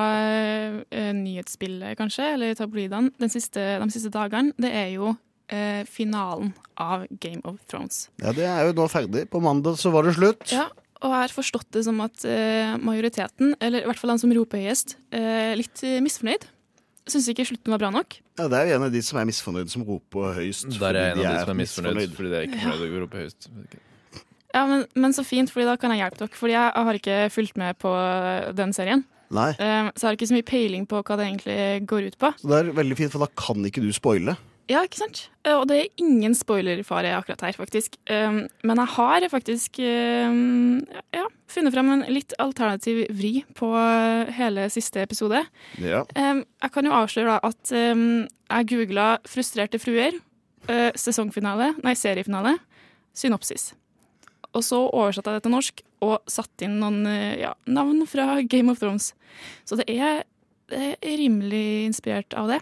Speaker 12: nyhetsbildet, kanskje, eller tabloidene den siste, de siste dagene, det er jo eh, finalen av Game of Thrones.
Speaker 5: Ja, det er jo nå ferdig. På mandag så var det slutt.
Speaker 12: Ja, og jeg har forstått det som at eh, majoriteten, eller i hvert fall han som roper høyest, eh, litt eh, misfornøyd. Syns ikke slutten var bra nok.
Speaker 5: Ja, det er jo en av de som er misfornøyd, som roper høyst.
Speaker 22: Der er jeg
Speaker 5: fordi
Speaker 22: en av de som er misfornøyd, fordi det er ikke
Speaker 12: Ja.
Speaker 22: fornøyd å rope høyst.
Speaker 12: Ja, men, men så fint, fordi da kan jeg hjelpe dere. Fordi jeg, jeg har ikke fulgt med på eh, den serien.
Speaker 5: Nei.
Speaker 12: Eh, så jeg har ikke så mye peiling på hva det egentlig går ut på.
Speaker 5: Så det er veldig fint, for da kan ikke du spoile.
Speaker 12: Ja, ikke sant? Eh, Og det er ingen spoilerfare akkurat her, faktisk. Um, Men jeg har faktisk um, ja, funnet fram en litt alternativ vri på eh, hele siste episode.
Speaker 5: Ja.
Speaker 12: Um, Jeg kan jo avsløre da at um, jeg googla 'frustrerte fruer', eh, sesongfinale, nei, seriefinale, synopsis. Og så oversatte jeg det til norsk og satte inn noen eh, ja, navn fra Game of Thrones. Så det er, det er rimelig inspirert av det.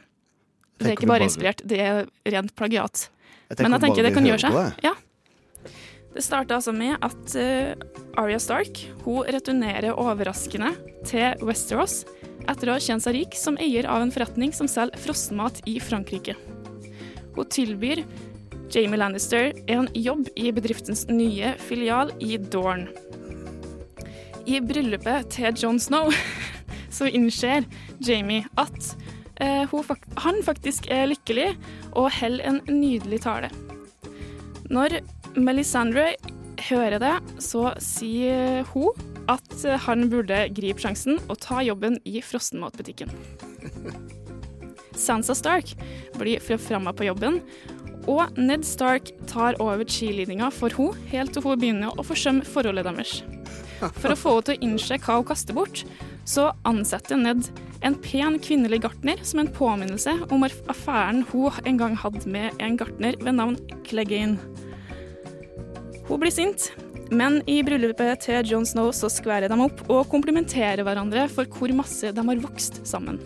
Speaker 12: Det er
Speaker 5: Tenker
Speaker 12: ikke
Speaker 5: du
Speaker 12: bare
Speaker 5: bare-
Speaker 12: inspirert, det er rent plagiat.
Speaker 5: Jeg tenker
Speaker 12: Men jeg
Speaker 5: bare
Speaker 12: tenker det
Speaker 5: vi
Speaker 12: kan
Speaker 5: hører
Speaker 12: gjøre seg.
Speaker 5: på det.
Speaker 12: Ja. Det starta altså med at eh, Arya Stark hun returnerer overraskende til Westeros etter å ha kjent seg rik som eier av en forretning som selger frossenmat i Frankrike. Hun tilbyr Jamie Lannister en jobb i bedriftens nye filial i Dorn. I bryllupet til Jon Snow så innser Jamie at eh, hun fak han faktisk er lykkelig og holder en nydelig tale. Når Melisandre hører det, så sier hun at han burde gripe sjansen og ta jobben i frossenmatbutikken. Sansa Stark blir framma på jobben, og Ned Stark tar over cheerleadinga for hun helt til hun begynner å forsømme forholdet deres. For å få henne til å innse hva hun kaster bort, så ansetter Ned en pen kvinnelig gartner som en påminnelse om aff- affæren hun en gang hadde med en gartner ved navn Clegane. Hun blir sint, men i bryllupet til Jon Snow så skværer de opp og komplimenterer hverandre for hvor masse de har vokst sammen.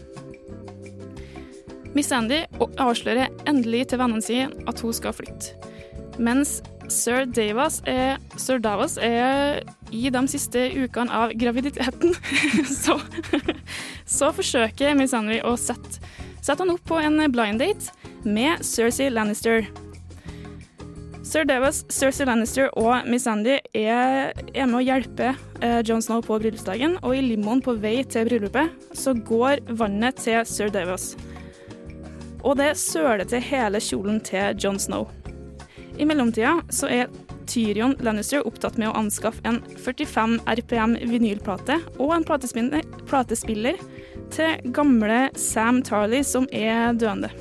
Speaker 12: Miss Sandy avslører endelig til vennene sine at hun skal flytte. Mens Sir Davas er, Sir Davos er i de siste ukene av graviditeten, så, så forsøker Miss Henry å sette, sette han opp på en blind date med Cersei Lannister. Sir Davos, Cersei Lannister og Miss Sandy er, er med å hjelpe eh, Jon Snow på bryllupsdagen, og i limoen på vei til bryllupet så går vannet til Sir Davos. Og det søler til hele kjolen til Jon Snow. I mellomtida så er Tyrion Lannister opptatt med å anskaffe en 45 RPM vinylplate og en platespinner- platespiller til gamle Sam Tarley, som er døende.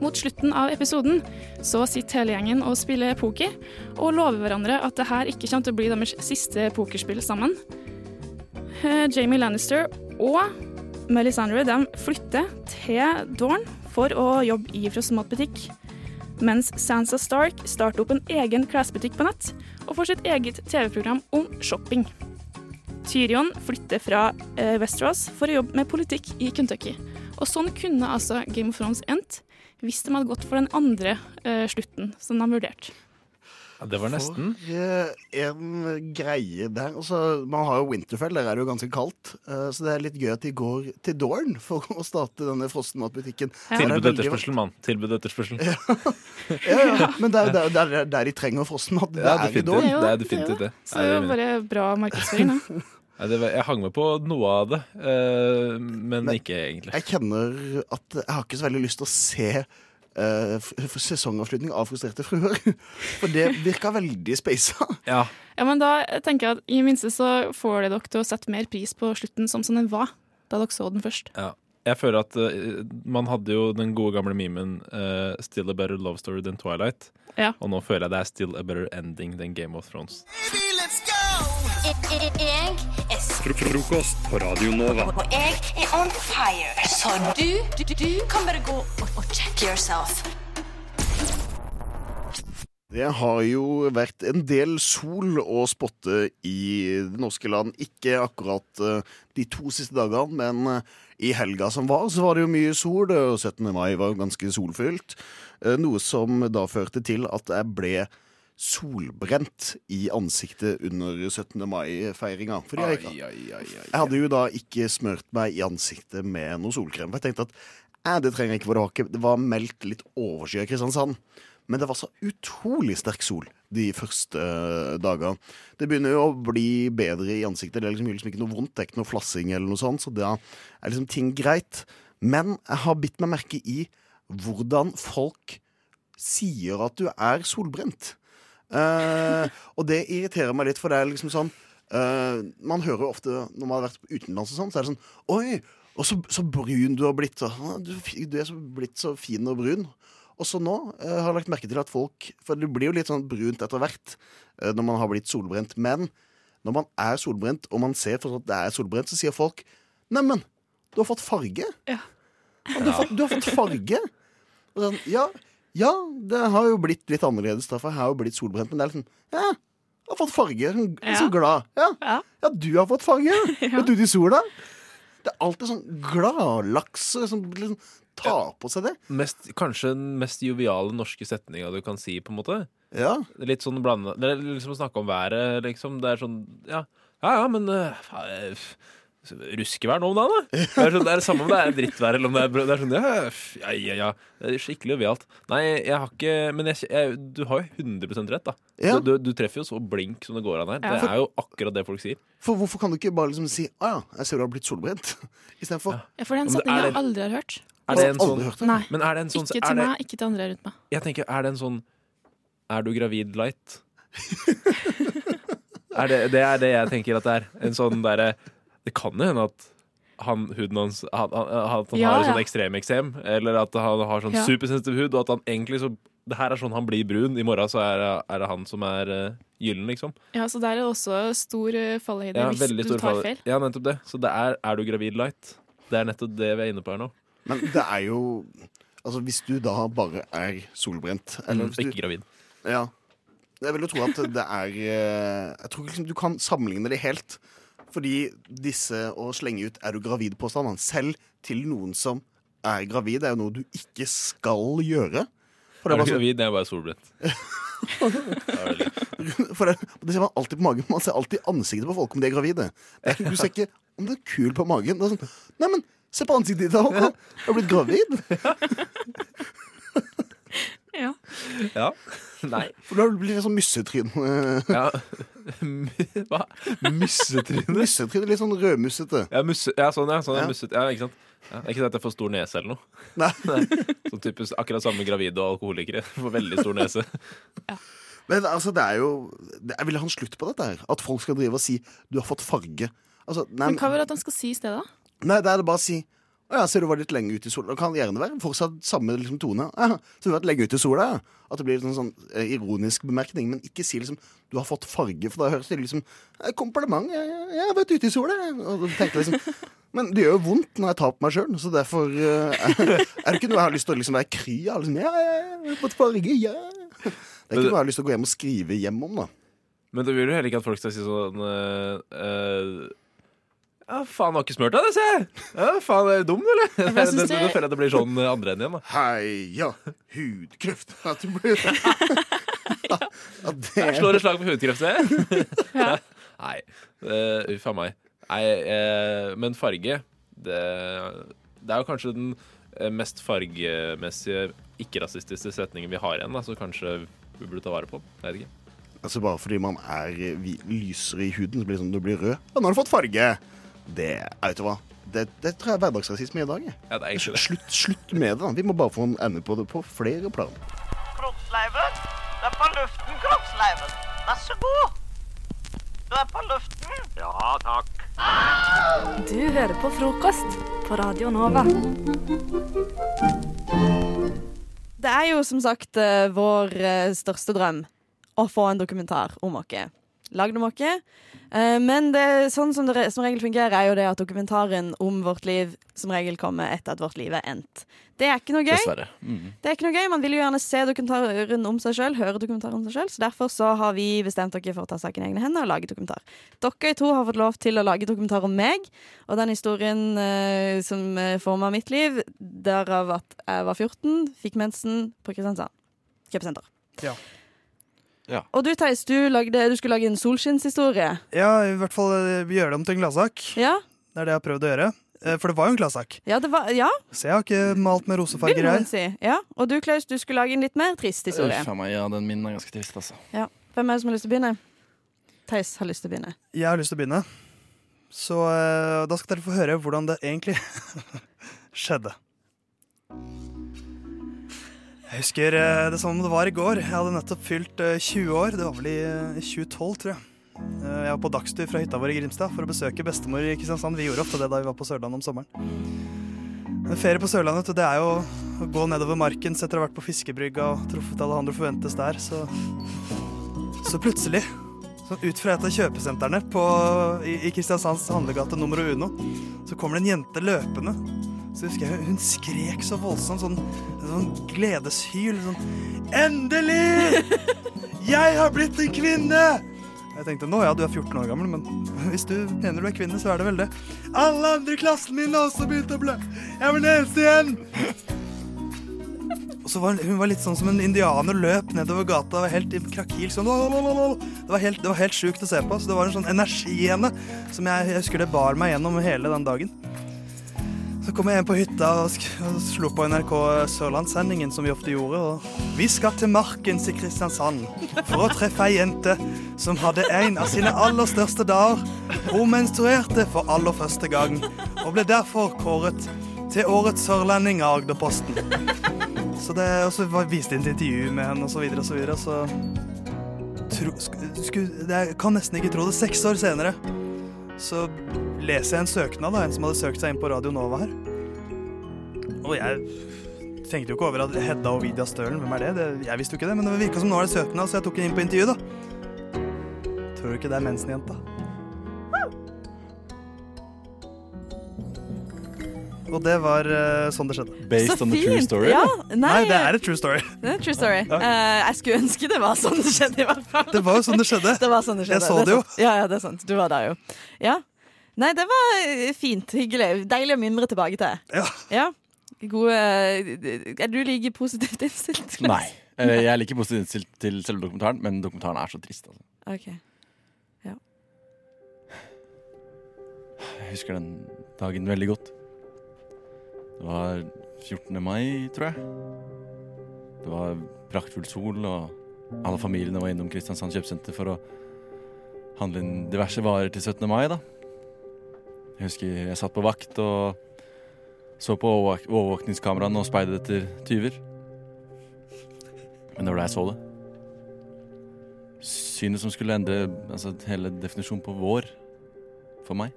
Speaker 12: Mot slutten av episoden så sitter hele gjengen og spiller poker, og lover hverandre at det her ikke kommer til å bli deres siste pokerspill sammen. Eh, Jamie Lannister og Melisandre de flytter til Dorn for å jobbe i frossenmatbutikk. Mens Sansa Stark starter opp en egen klesbutikk på nett og får sitt eget TV-program om shopping. Tyrion flytter fra eh, Westeros for å jobbe med politikk i Kentucky. Og sånn kunne altså Game of Thrones endt hvis de hadde gått for den andre eh, slutten som de vurderte.
Speaker 22: Ja, det var nesten.
Speaker 5: For eh, en greie der. Altså, man har jo Winterfell, der er det jo ganske kaldt. eh, Så det er litt gøy at de går til Dorn for å starte denne frossenmatbutikken. Der er
Speaker 22: Tilbud
Speaker 5: veldig-
Speaker 22: etterspørsel, mann. Tilbud etterspørsel.
Speaker 5: Ja, ja. Men det er det er- det er der, de trenger frossenmat. Det,
Speaker 22: Ja,
Speaker 5: er i
Speaker 22: definitivt.
Speaker 5: Dorn.
Speaker 12: jo-
Speaker 22: Det er definitivt
Speaker 12: jo
Speaker 22: det.
Speaker 12: Så det er jo bare bra markedsføring, da.
Speaker 22: Nei, det var, jeg hang med på noe av det, eh, men ikke egentlig.
Speaker 5: Jeg kjenner at jeg har ikke så veldig lyst til å se eh, f- f- sesongavslutning av Frustrerte fruer. For det virka veldig speisa.
Speaker 22: Ja.
Speaker 12: Ja, men da tenker jeg at i minste så får det dere til å sette mer pris på slutten som som den var, da dere så den først.
Speaker 22: Ja. jeg føler at eh, man hadde jo den gode gamle memen eh, 'Still a better love story than Twilight'.
Speaker 12: Ja.
Speaker 22: Og nå føler jeg det er 'Still a better ending than Game of Thrones'.
Speaker 1: Jeg er s-
Speaker 23: Frokost på Radio Nova.
Speaker 1: og jeg er on fire. Så du, du, du kan bare gå og, og check yourself.
Speaker 5: Det har jo vært en del sol å spotte i det norske land. Ikke akkurat eh, de to siste dagene, men eh, i helga som var, så var det jo mye sol. Og 17. mai var jo ganske solfylt. eh, Noe som da førte til at jeg ble solbrent i ansiktet under 17. mai-feiringa. Fordi jeg,
Speaker 4: Ai, ai, ai, ai.
Speaker 5: jeg hadde jo da ikke smørt meg i ansiktet med noe solkrem. For jeg tenkte at eh, det trenger jeg ikke, for det var, ikke, det var meldt litt overskyet i Kristiansand. Men det var så utrolig sterk sol de første eh, dagene. Det begynner jo å bli bedre i ansiktet. Det er liksom, liksom ikke noe vondt, det er ikke noe flassing eller noe sånt, så da er liksom ting greit. Men jeg har bitt meg merke i hvordan folk sier at du er solbrent. Eh, og det irriterer meg litt, for det er liksom sånn eh, Man hører jo ofte når man har vært utenlands og sånn, så er det sånn Oi, og så, så brun du har blitt. Så, «Å, Du, er fi- du er så blitt så fin og brun. Og så nå eh, har jeg lagt merke til at folk For det blir jo litt sånn brunt etter hvert eh, når man har blitt solbrent. Men når man er solbrent, og man ser fortsatt at det er solbrent, så sier folk Neimen, du har fått farge. Ja, Du, har fått, du har fått farge. Og sånn, ja, ja, det har jo blitt litt annerledes, derfor jeg har jo blitt solbrent. Men det er liksom Ja, jeg har fått farge. Sånn, Så glad. Ja. Ja. du har fått farge. ja. Og du til sola. Det er alltid sånn gladlaks som liksom tar på seg det.
Speaker 22: mest, kanskje den mest joviale norske setninga du kan si, på en måte.
Speaker 5: Ja.
Speaker 22: Litt sånn blanda Det er liksom å snakke om været, liksom. Det er sånn Ja, ja, ja men eh, fa- eh, f- Ruskevær nå om dagen, da! Det er, sånn, det er det samme om det er drittvær eller om det er brød. Det er sånn, ja, f- ja, ja, ja. Det er Skikkelig jovialt. Nei, jeg har ikke Men jeg, jeg, du har jo 100 rett, da.
Speaker 5: Ja.
Speaker 22: Så Du, du treffer jo så blink som det går an her.
Speaker 5: Ja.
Speaker 22: Det er jo akkurat det folk sier.
Speaker 5: For hvorfor kan du ikke bare liksom si Å ja, jeg ser du har blitt solbrent. Istedenfor
Speaker 12: Ja, for den
Speaker 22: Men det er
Speaker 12: setningen jeg
Speaker 22: det-
Speaker 12: aldri har hørt.
Speaker 4: Altså,
Speaker 22: Er det en
Speaker 5: Aldri
Speaker 22: sånn
Speaker 5: hørt
Speaker 12: Nei.
Speaker 22: Men er det en sånn
Speaker 12: ikke
Speaker 22: er
Speaker 12: til
Speaker 22: det,
Speaker 12: meg, ikke til andre rundt meg.
Speaker 22: Jeg tenker, er det en sånn Er du gravid light? er det, det er det jeg tenker at det er. En sånn derre Det kan jo hende at han, huden hans han, han, At han
Speaker 8: Ja,
Speaker 22: har sånn
Speaker 8: ja.
Speaker 22: ekstremeksem, eller at han har sånn
Speaker 8: Ja.
Speaker 22: supersensitiv hud, og at han egentlig så Det her er sånn han blir brun. I morgen så er, det- er det han som er eh, gyllen, liksom.
Speaker 12: Ja, så der er det også stor eh, fallhøyde
Speaker 22: Ja,
Speaker 12: hvis
Speaker 22: veldig
Speaker 12: du
Speaker 22: stor
Speaker 12: tar
Speaker 22: fall-
Speaker 12: feil.
Speaker 22: Ja, nettopp det. Så det er Er du gravid light? Det er nettopp det vi er inne på her nå.
Speaker 5: Men det er jo Altså, hvis du da bare er solbrent
Speaker 22: Mm,
Speaker 5: hvis du-
Speaker 22: ikke gravid.
Speaker 5: Ja. Jeg vil jo tro at det er eh, Jeg tror ikke liksom du kan sammenligne det helt. Fordi disse å slenge ut 'er du gravid'-påstandene selv til noen som er gravid, er jo noe du ikke skal gjøre. For
Speaker 22: Er
Speaker 5: det er bare sånn- så-
Speaker 22: du gravid? Det er bare solbrent.
Speaker 5: For det, det ser man alltid på magen. Man ser alltid ansiktet på folk om de er gravide. Det er, du ser ikke om det er kul på magen. Det er sånn, Nei, men se på ansiktet ditt, Håkon! Du har blitt gravid!
Speaker 12: Ja.
Speaker 22: Ja. Nei.
Speaker 5: For da blir det sånn mussetryn.
Speaker 22: Ja. Hva? Mussetryne?
Speaker 5: mussetryne, Litt sånn rødmussete.
Speaker 22: Ja, musse, ja sånn, ja. Sånn, ja.
Speaker 5: Ja.
Speaker 22: Musset, ja ikke sant? Ja, det er ikke det at jeg får stor nese eller noe.
Speaker 5: Nei.
Speaker 22: Sånn typisk akkurat samme gravide og alkoholikere. Får veldig stor nese.
Speaker 5: Men altså, det er jo det, Jeg vil ha en slutt på dette her. At folk skal drive og si 'du har fått farge'. Altså, nei,
Speaker 12: Men hva vil du at han skal si i stedet? da?
Speaker 5: nei, det er det bare å si 'Å ja, ser du var litt lenge ute i sola'. Det kan gjerne være fortsatt samme liksom, tone. Ja, 'Så du har vært lenge ute i sola', ja. At det blir en sånn eh, ironisk bemerkning. Men ikke si liksom 'du har fått farge', for da høres det liksom «Eh, 'Kompliment, jeg, jeg, jeg har vært ute i sola', jeg». Og da tenker jeg liksom men det gjør jo vondt når jeg tar på meg sjøl, så derfor eh, er det ikke noe jeg har lyst til å liksom være kry av. Liksom, ja, ja, ja, jeg har fått farge, ja. Det er ikke noe jeg har lyst til å gå hjem og skrive hjem om, da.
Speaker 22: Men du vil jo heller ikke at folk skal si sånn eh, eh, Ja, faen, har ikke smurt deg, det, ser jeg! Ja, faen, er du dum, eller?
Speaker 5: Ja, for
Speaker 22: Da
Speaker 5: jeg synes det-
Speaker 22: føler jeg at det blir sånn eh, andre enden igjen, da.
Speaker 5: Heia hudkreft! At det blir
Speaker 22: Jeg slår et slag for hudkreft, det. Nei. eh, Uff a meg. Nei, eh, men farge det, det er jo kanskje den eh, mest fargemessige ikke-rasistiske setningen vi har igjen, da, så kanskje vi burde ta vare på den. Jeg vet ikke.
Speaker 5: Altså Bare fordi man er eh, vi- lysere i huden, så blir det sånn du blir rød. Ja, nå har du fått farge! Det er- vet du hva. Det, det tror jeg er hverdagsrasisme i dag. jeg.
Speaker 22: Ja, det er egentlig det.
Speaker 5: Slutt, slutt med det. da Vi må bare få en ende på det på flere plan.
Speaker 24: Kroppsleiven. Du er på luften, kroppsleiven. Vær så god. Du er på luften. Ja, takk.
Speaker 25: Du
Speaker 26: Du hører på frokost på Radio Nova.
Speaker 27: Det er jo som sagt eh, vår eh, største drøm å få en dokumentar om oss. Lagd om oss. Eh, men det, er sånn som det re- som regel fungerer, er jo det at dokumentaren om vårt liv som regel kommer etter at vårt liv er endt. Det er ikke noe gøy.
Speaker 28: Dessverre. Mm.
Speaker 27: Det er ikke noe gøy, Man vil jo gjerne se dokumentaren om seg sjøl, høre dokumentaren om seg sjøl. Så derfor så har vi bestemt dere for å ta saken i egne hender og lage dokumentar. Dere to har fått lov til å lage dokumentar om meg og den historien eh, som eh, forma mitt liv, derav at jeg var 14, fikk mensen på Kristiansand kjøpesenter.
Speaker 25: Ja.
Speaker 29: Ja.
Speaker 27: Og du, Theis, du, lagde, du skulle lage en solskinnshistorie.
Speaker 25: ja, i hvert fall eh, gjøre det om til en gladsak.
Speaker 27: Ja.
Speaker 25: Det er det jeg har prøvd å gjøre. Eh, For det var jo en gladsak.
Speaker 27: Ja, det var Ja,
Speaker 25: Så jeg har ikke malt med
Speaker 27: vil
Speaker 25: rosefarger her.
Speaker 27: noen si. Ja. Og du, Klaus, du skulle lage en litt mer trist historie.
Speaker 28: Uff, faen meg, ja, den min er ganske trist, altså.
Speaker 27: Ja. Hvem er det som har lyst til å begynne? Theis har lyst til å begynne.
Speaker 25: Jeg har lyst til å begynne. Så eh, da skal dere få høre hvordan det egentlig skjedde. Jeg husker eh, det som om det var i går. Jeg hadde nettopp fylt eh, 20 år. Det var vel i eh, 2012, tror jeg. Eh, Jeg var på dagstur fra hytta vår i Grimstad for å besøke bestemor i Kristiansand. Vi gjorde ofte det da vi var på Sørlandet om sommeren. Men ferie på Sørlandet, det er jo å gå nedover marken så etter å ha vært på fiskebrygga og truffet Alejandro Forventes der, så Så plutselig, så ut fra et av kjøpesentrene på, i, i Kristiansands handlegate nummer uno, så kommer det en jente løpende. Så husker jeg hun skrek så voldsomt, sånn, sånn gledeshyl. Sånn Endelig! Jeg har blitt en kvinne! Jeg tenkte nå, ja, du er 14 år gammel, men hvis du mener du er kvinne, så er det vel det. Alle andre i klassen min har også begynt å blø. Jeg var den eneste igjen. Og så var hun, hun var litt sånn som en indianer løp nedover gata og var helt i krakil. Sånn, «Lalalala». det var helt, det var helt sjukt å se på. Så det var en sånn energi i henne som jeg, jeg husker det bar meg gjennom hele den dagen. Så kom jeg hjem på hytta og, sk og slo på NRK Sørlandssendingen, som vi ofte gjorde. Og vi skal til Markens i Kristiansand for å treffe ei jente som hadde en av sine aller største dager. Hun menstruerte for aller første gang, og ble derfor kåret til årets sørlending av Agderposten. Så det, og så var- viste de et intervju med henne, og så videre og så videre. og Så tro, sku, sku, det, jeg kan nesten ikke tro det. Seks år senere så leser jeg en søknad av en som hadde søkt seg inn på Radio Nova her. Og jeg tenkte jo ikke over at Hedda Ovidia Stølen, hvem er det? det jeg visste jo ikke det, men det virka som nå er det søknad, så jeg tok henne inn på intervju, da. Tror du ikke det er mensenjenta? Og det var eh, sånn det skjedde.
Speaker 28: Based
Speaker 27: Så on the true fint! story, Ja, eller? nei.
Speaker 25: nei, det er et true story.
Speaker 27: Det er en True story.
Speaker 25: Ja.
Speaker 27: Eh, jeg skulle ønske det var sånn det skjedde, i hvert fall.
Speaker 25: Det var jo sånn det skjedde.
Speaker 27: Det var sånn det skjedde.
Speaker 25: Jeg så
Speaker 27: er
Speaker 25: det jo.
Speaker 27: sant. Ja, ja, det er sant. Du var der jo. Ja. Nei, det var eh, fint. Hyggelig. Deilig å mimre tilbake til.
Speaker 25: Ja.
Speaker 27: Gode eh, Er du like positivt innstilt? Klaus?
Speaker 28: Nei. Eh, Jeg er like positivt innstilt til selve dokumentaren, men dokumentaren er så trist. Altså.
Speaker 27: OK. Ja.
Speaker 28: Jeg husker den dagen veldig godt. Det var 14. mai, tror jeg. Det var praktfull sol, og alle familiene var innom Kristiansand kjøpesenter for å handle inn diverse varer til 17. mai, da. Jeg husker jeg satt på vakt og så på overvåk- overvåkningskameraene og speidet etter tyver. Men det var da jeg så det. Synet som skulle endre altså, hele definisjonen på vår for meg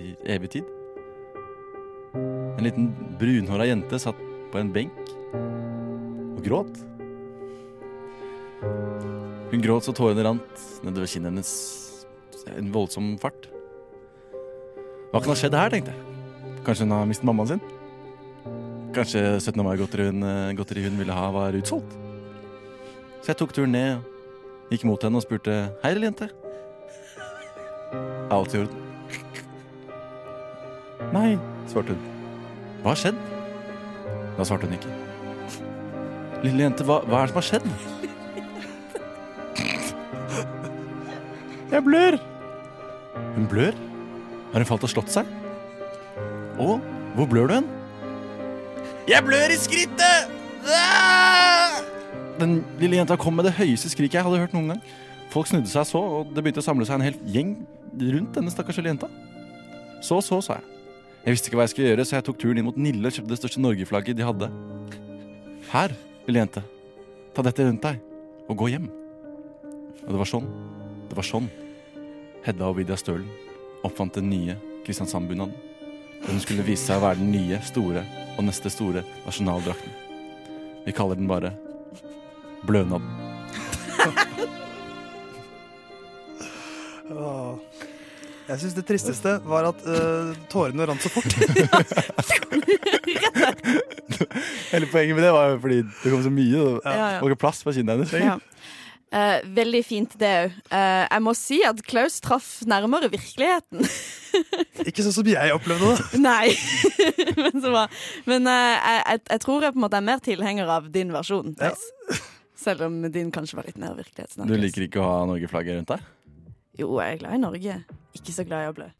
Speaker 28: i evig tid. En liten brunhåra jente satt på en benk og gråt. Hun gråt så tårene rant nedover kinnet hennes i en voldsom fart. Hva kan ha skjedd her, tenkte jeg. Kanskje hun har mistet mammaen sin? Kanskje 17. mai-godteriet hun, eh, godteri hun ville ha, var utsolgt? Så jeg tok turen ned, og gikk mot henne og spurte Hei, lille jente. Er alt i orden? Nei, svarte hun. Hva har skjedd? Da svarte hun ikke. Lille jente, hva, hva er det som har skjedd? Jeg blør! Hun blør? Har hun falt og slått seg? Å, hvor blør du hen? Jeg blør i skrittet! Ah! Den lille jenta kom med det høyeste skriket jeg hadde hørt noen gang. Folk snudde seg så, og det begynte å samle seg en hel gjeng rundt denne stakkars lille jenta. Så, så, sa jeg. Jeg visste ikke hva jeg skulle gjøre, så jeg tok turen inn mot Nille og kjøpte det største Norge-flagget de hadde. Her, lille jente, ta dette rundt deg, og gå hjem. Og det var sånn, det var sånn, Hedda og Vidja Stølen oppfant den nye
Speaker 30: Kristiansand-bunaden. Den skulle vise seg å være den nye, store og neste store nasjonaldrakten. Vi kaller den bare Blønaden.
Speaker 25: Åh. Jeg syns det tristeste var at eh, tårene rant så fort.
Speaker 28: Hele poenget med det var jo fordi det kom så mye. og Det
Speaker 27: Ja, ja.
Speaker 28: var ikke plass på kinnet hennes.
Speaker 27: Ja. Eh, veldig fint, det òg. jeg må si at Klaus traff nærmere virkeligheten.
Speaker 25: Ikke sånn som jeg opplevde det.
Speaker 27: Nei. men så bra. Men eh, jeg, jeg, jeg tror jeg på en måte er mer tilhenger av din versjon. Theis. Selv om din kanskje var litt mer virkelighetsnær.
Speaker 28: Du liker ikke å ha Norge-flagget rundt deg?
Speaker 27: Jo, jeg er glad i Norge. Ikke så glad i å blø.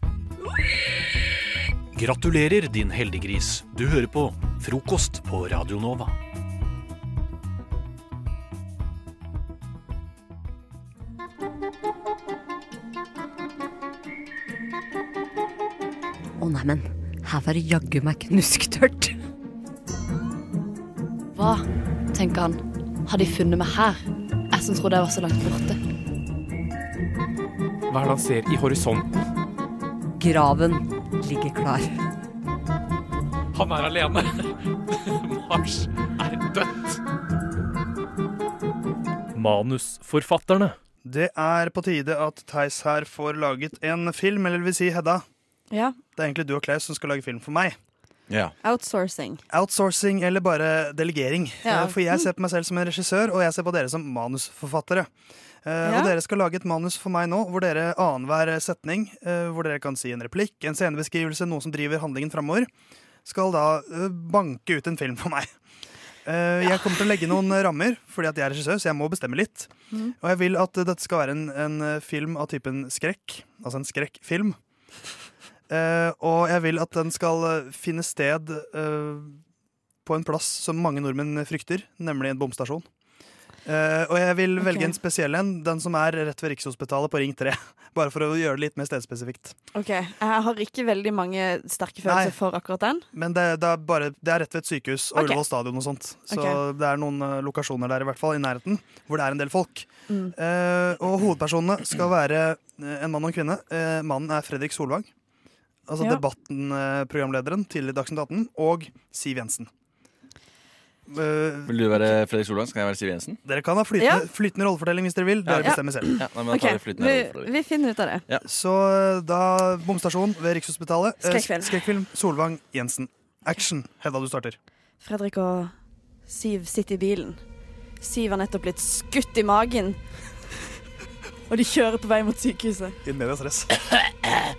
Speaker 10: Gratulerer, din heldiggris. Du hører på Frokost på Radio Nova.
Speaker 31: Å nei, men her var det jaggu meg knusktørt. Hva, tenker han, har de funnet meg her? Jeg som trodde jeg var så langt borte.
Speaker 22: Hva er det han ser i horisonten?
Speaker 31: Graven ligger klar.
Speaker 22: Han er alene. Mars er dødt. Manusforfatterne.
Speaker 25: Det er på tide at Theis her får laget en film, eller det vil si Hedda.
Speaker 27: Ja.
Speaker 25: Det er egentlig du og Klaus som skal lage film for meg.
Speaker 27: Outsourcing.
Speaker 25: Outsourcing eller bare delegering.
Speaker 27: Ja. Mm.
Speaker 25: Eh, For jeg ser på meg selv som en regissør, og jeg ser på dere som manusforfattere. Eh,
Speaker 27: Ja.
Speaker 25: Og dere skal lage et manus for meg nå, hvor dere annenhver setning, eh, hvor dere kan si en replikk, en scenebeskrivelse, noe som driver handlingen framover, skal da eh, banke ut en film for meg. Eh, Jeg kommer til å legge noen eh, rammer, fordi at jeg er regissør, så jeg må bestemme litt.
Speaker 32: Mhm.
Speaker 25: Og jeg vil at eh, dette skal være en, en eh, film av typen skrekk, altså en skrekkfilm. Eh, og jeg vil at den skal eh, finne sted eh, på en plass som mange nordmenn frykter, nemlig en bomstasjon. Eh, og jeg vil
Speaker 27: Ok.
Speaker 25: velge en spesiell en, den som er rett ved Rikshospitalet på Ring 3. Bare for å gjøre det litt mer stedspesifikt.
Speaker 27: OK. Jeg har ikke veldig mange sterke følelser
Speaker 25: Nei.
Speaker 27: for akkurat den.
Speaker 25: Men det, det, er bare, det er rett ved et sykehus og
Speaker 27: Ok.
Speaker 25: Ullevål stadion og sånt. Så
Speaker 27: Ok.
Speaker 25: det er noen eh, lokasjoner der i hvert fall, i nærheten, hvor det er en del folk.
Speaker 27: Mm.
Speaker 25: Eh, og hovedpersonene skal være eh, en mann og en kvinne. Eh, mannen er Fredrik Solvang. Altså
Speaker 27: Ja.
Speaker 25: Debatten-programlederen til Dagsnytt 18. Og Siv Jensen. Eh,
Speaker 28: Vil du være Fredrik Solvang? Skal jeg være Siv Jensen?
Speaker 25: dere kan ha
Speaker 27: Ja.
Speaker 25: flytende, flytende rollefortelling hvis dere vil. Dere
Speaker 27: Ja.
Speaker 25: bestemmer selv.
Speaker 28: Ja, nei, men da
Speaker 27: OK,
Speaker 28: tar vi flytende
Speaker 27: vi,
Speaker 28: rollefortelling.
Speaker 27: vi finner ut av det.
Speaker 25: Så eh, da bomstasjon ved Rikshospitalet. Eh,
Speaker 27: Skrekkfilm.
Speaker 25: Skrekkfilm. Solvang Jensen. Action. Hedda, du starter.
Speaker 27: Fredrik og Siv sitter i bilen. Siv har nettopp blitt skutt i magen. Og de kjører på vei mot sykehuset.
Speaker 25: Inn med deg stress.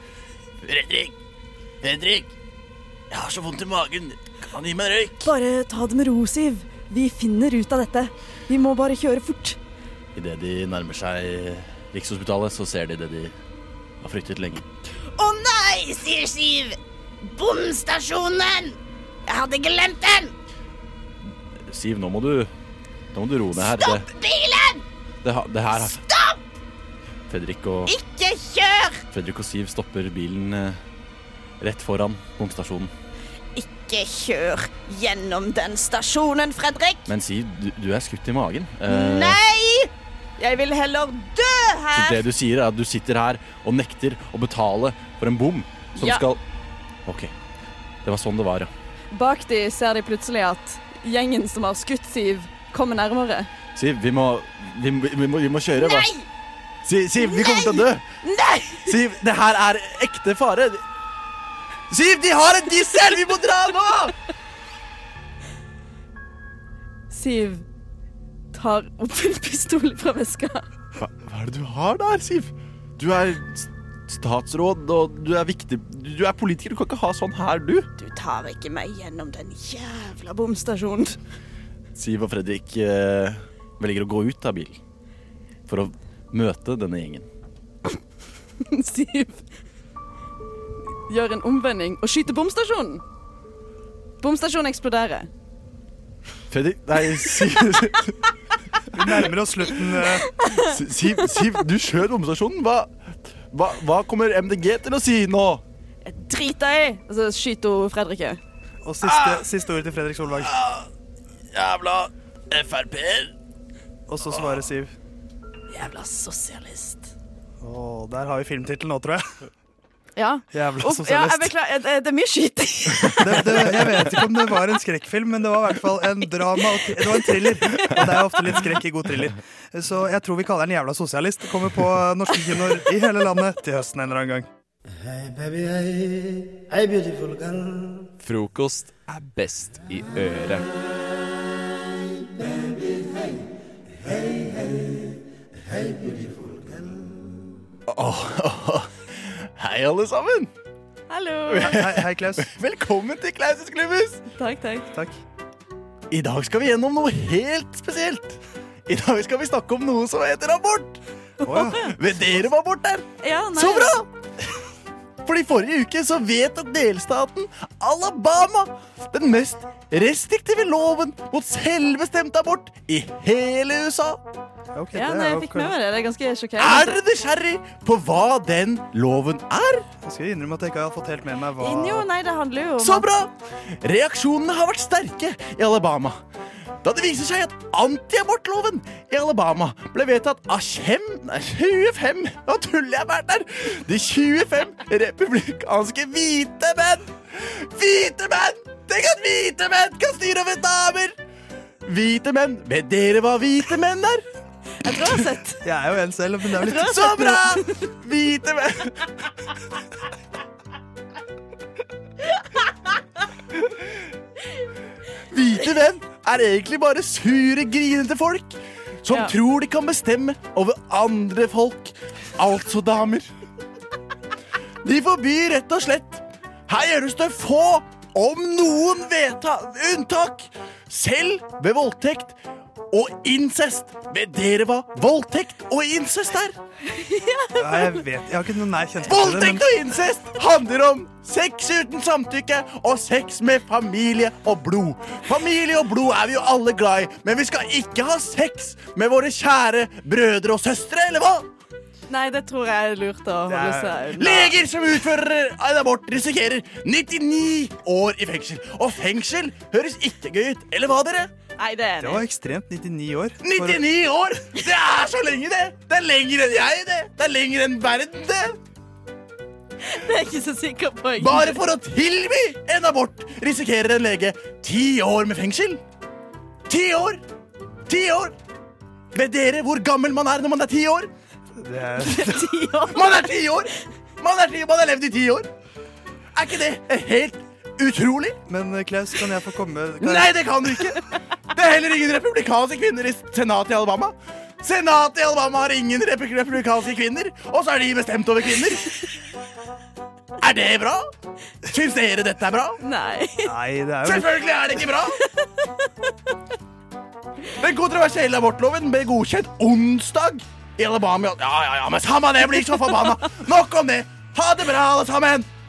Speaker 21: Fredrik! Fredrik! Jeg har så vondt i magen. Kan han gi meg en røyk?
Speaker 33: Bare ta det med ro, Siv. Vi finner ut av dette. Vi må bare kjøre fort.
Speaker 21: Idet de nærmer seg Rikshospitalet, så ser de det de har fryktet lenge.
Speaker 15: Å nei, sier Siv. Bomstasjonen! Jeg hadde glemt den!
Speaker 28: Siv, nå må du, nå må du roe ned her.
Speaker 15: Stopp bilen!
Speaker 28: Det, det, ha- det her har
Speaker 15: Stopp!
Speaker 28: Fredrik og,
Speaker 15: Ikke kjør!
Speaker 28: Fredrik og Siv stopper bilen eh, rett foran bomstasjonen.
Speaker 15: Ikke kjør gjennom den stasjonen, Fredrik.
Speaker 28: Men Siv, du, du er skutt i magen. Eh,
Speaker 15: Nei! Jeg vil heller dø
Speaker 28: Så
Speaker 15: her.
Speaker 28: det du sier, er at du sitter her og nekter å betale for en bom som
Speaker 27: Ja.
Speaker 28: skal OK. Det var sånn det var, ja.
Speaker 27: Bak de ser de plutselig at gjengen som har skutt Siv, kommer nærmere.
Speaker 28: Siv, vi må Vi, må- vi, må, vi må kjøre. hva-
Speaker 27: Nei!
Speaker 28: Siv, Siv, vi kommer til å dø!
Speaker 15: Nei!
Speaker 28: Siv, det her er ekte fare. Siv, de har en diesel! Vi må dra nå!
Speaker 27: Siv tar opp en pistol fra veska.
Speaker 28: Hva, hva er det du har der, Siv? Du er s- statsråd, og du er viktig Du er politiker, du kan ikke ha sånn her, du.
Speaker 15: Du tar ikke meg gjennom den jævla bomstasjonen.
Speaker 28: Siv og Fredrik eh, velger å gå ut av bilen for å møte denne gjengen.
Speaker 27: Siv gjør en omvending og skyter bomstasjonen. Bomstasjonen eksploderer.
Speaker 28: Fredrik Nei, Siv
Speaker 25: Vi nærmer oss slutten.
Speaker 28: eh. Si- Siv, Siv du skjøt bomstasjonen. Hva, hva, hva kommer MDG til å si nå?
Speaker 27: Drit deg! Og
Speaker 9: Altså,
Speaker 27: så skyter hun Fredrik òg.
Speaker 25: Og siste, siste ordet til Fredrik Solvang.
Speaker 21: Jævla Frp-er.
Speaker 25: Og så
Speaker 21: Ah.
Speaker 25: svarer Siv.
Speaker 15: Jævla sosialist.
Speaker 25: Åh, der har vi filmtittelen nå, tror jeg.
Speaker 9: Ja.
Speaker 25: Jævla
Speaker 9: Uff, ja, jeg
Speaker 25: sosialist.
Speaker 9: beklager, det, det er mye skyting.
Speaker 25: Det, det, jeg vet ikke om det var en skrekkfilm, men det var i hvert fall en drama. Og, det var en thriller, og det er jo ofte litt skrekk i god thriller. Så jeg tror vi kaller den jævla sosialist. Kommer på norske kinoer i hele landet til høsten en eller annen gang.
Speaker 6: Hey baby, hey, hey beautiful girl.
Speaker 10: Frokost er best i øret.
Speaker 21: Hei, alle sammen!
Speaker 9: Hallo.
Speaker 25: Hei, hei Klaus.
Speaker 21: Velkommen til Klauses klubbhus!
Speaker 9: Takk, takk.
Speaker 21: I dag skal vi gjennom noe helt spesielt. I dag skal vi snakke om noe som heter abort.
Speaker 25: Oh,
Speaker 21: Men dere var bort der.
Speaker 9: Ja, nei.
Speaker 21: Så bra! Fordi forrige uke så vedtok delstaten Alabama den mest restriktive loven mot selvbestemt abort i hele USA.
Speaker 9: Ja, nei, jeg fikk med meg det. Det er ganske
Speaker 21: Er
Speaker 9: sjokkerende.
Speaker 21: dere nysgjerrig på hva den loven er?
Speaker 25: Jeg skal innrømme at jeg ikke har fått helt med meg hva
Speaker 9: Jo, nei, det handler jo om
Speaker 21: Så bra! Reaksjonene har vært sterke i Alabama. Da det viser seg at antiabortloven i Alabama ble vedtatt av kjem, nei, 25 Nå tuller jeg bare der! De 25 republikanske hvite menn! Hvite menn! Tenk at hvite menn kan styre over damer! Hvite menn. Vet dere hva hvite menn er?
Speaker 9: Jeg tror jeg har sett.
Speaker 25: Jeg er jo en selv, men det er vel litt
Speaker 21: Så bra! Hvite menn. Hvite menn er egentlig bare sure, grinete folk som tror de kan bestemme over andre folk, altså damer. De forbyr rett og slett Her gjøres det få, om noen vedta unntak, selv ved voldtekt og incest. Vet dere hva voldtekt og incest er?
Speaker 25: Ja, jeg vet Jeg har ikke noe nær kjennskap til det.
Speaker 21: Voldtekt og incest handler om sex uten samtykke og sex med familie og blod. Familie og blod er vi jo alle glad i, men vi skal ikke ha sex med våre kjære brødre og søstre, eller hva?
Speaker 9: Nei, det tror jeg er lurt å holde seg unna.
Speaker 21: Eh, Leger som utfører en abort, risikerer 99 år i fengsel. Og fengsel høres ikke gøy ut, eller hva, dere?
Speaker 9: Nei, det er
Speaker 25: Det var ekstremt 99 år. For-
Speaker 21: 99 år! Det er så lenge, det! Det er lenger enn jeg, det! Det er lenger enn verden, det!
Speaker 9: Det er jeg ikke så sikker på. egentlig.
Speaker 21: Bare for å tilby en abort risikerer en lege ti år med fengsel. Ti år! Ti år! Vet dere hvor gammel man er når man er ti år?
Speaker 25: Det er
Speaker 21: Man er ti år! Man er ti, man har levd i ti år! Er ikke det helt utrolig?
Speaker 25: Men eh, Klaus, kan jeg få komme? Kan jeg-
Speaker 21: Nei, det kan du ikke! Det er heller ingen republikanske kvinner i senatet i Alabama. Senatet i Alabama har ingen repub- republikanske kvinner, og så er de bestemt over kvinner. Er det bra? Syns dere dette er bra?
Speaker 9: Nei.
Speaker 25: Nei, det er jo litt
Speaker 21: Selvfølgelig er det ikke bra! Den kontroversielle abortloven ble godkjent onsdag i Alabama. Ja, ja, ja, men samme det, jeg blir så forbanna! Nok om det! Ha det bra, alle sammen!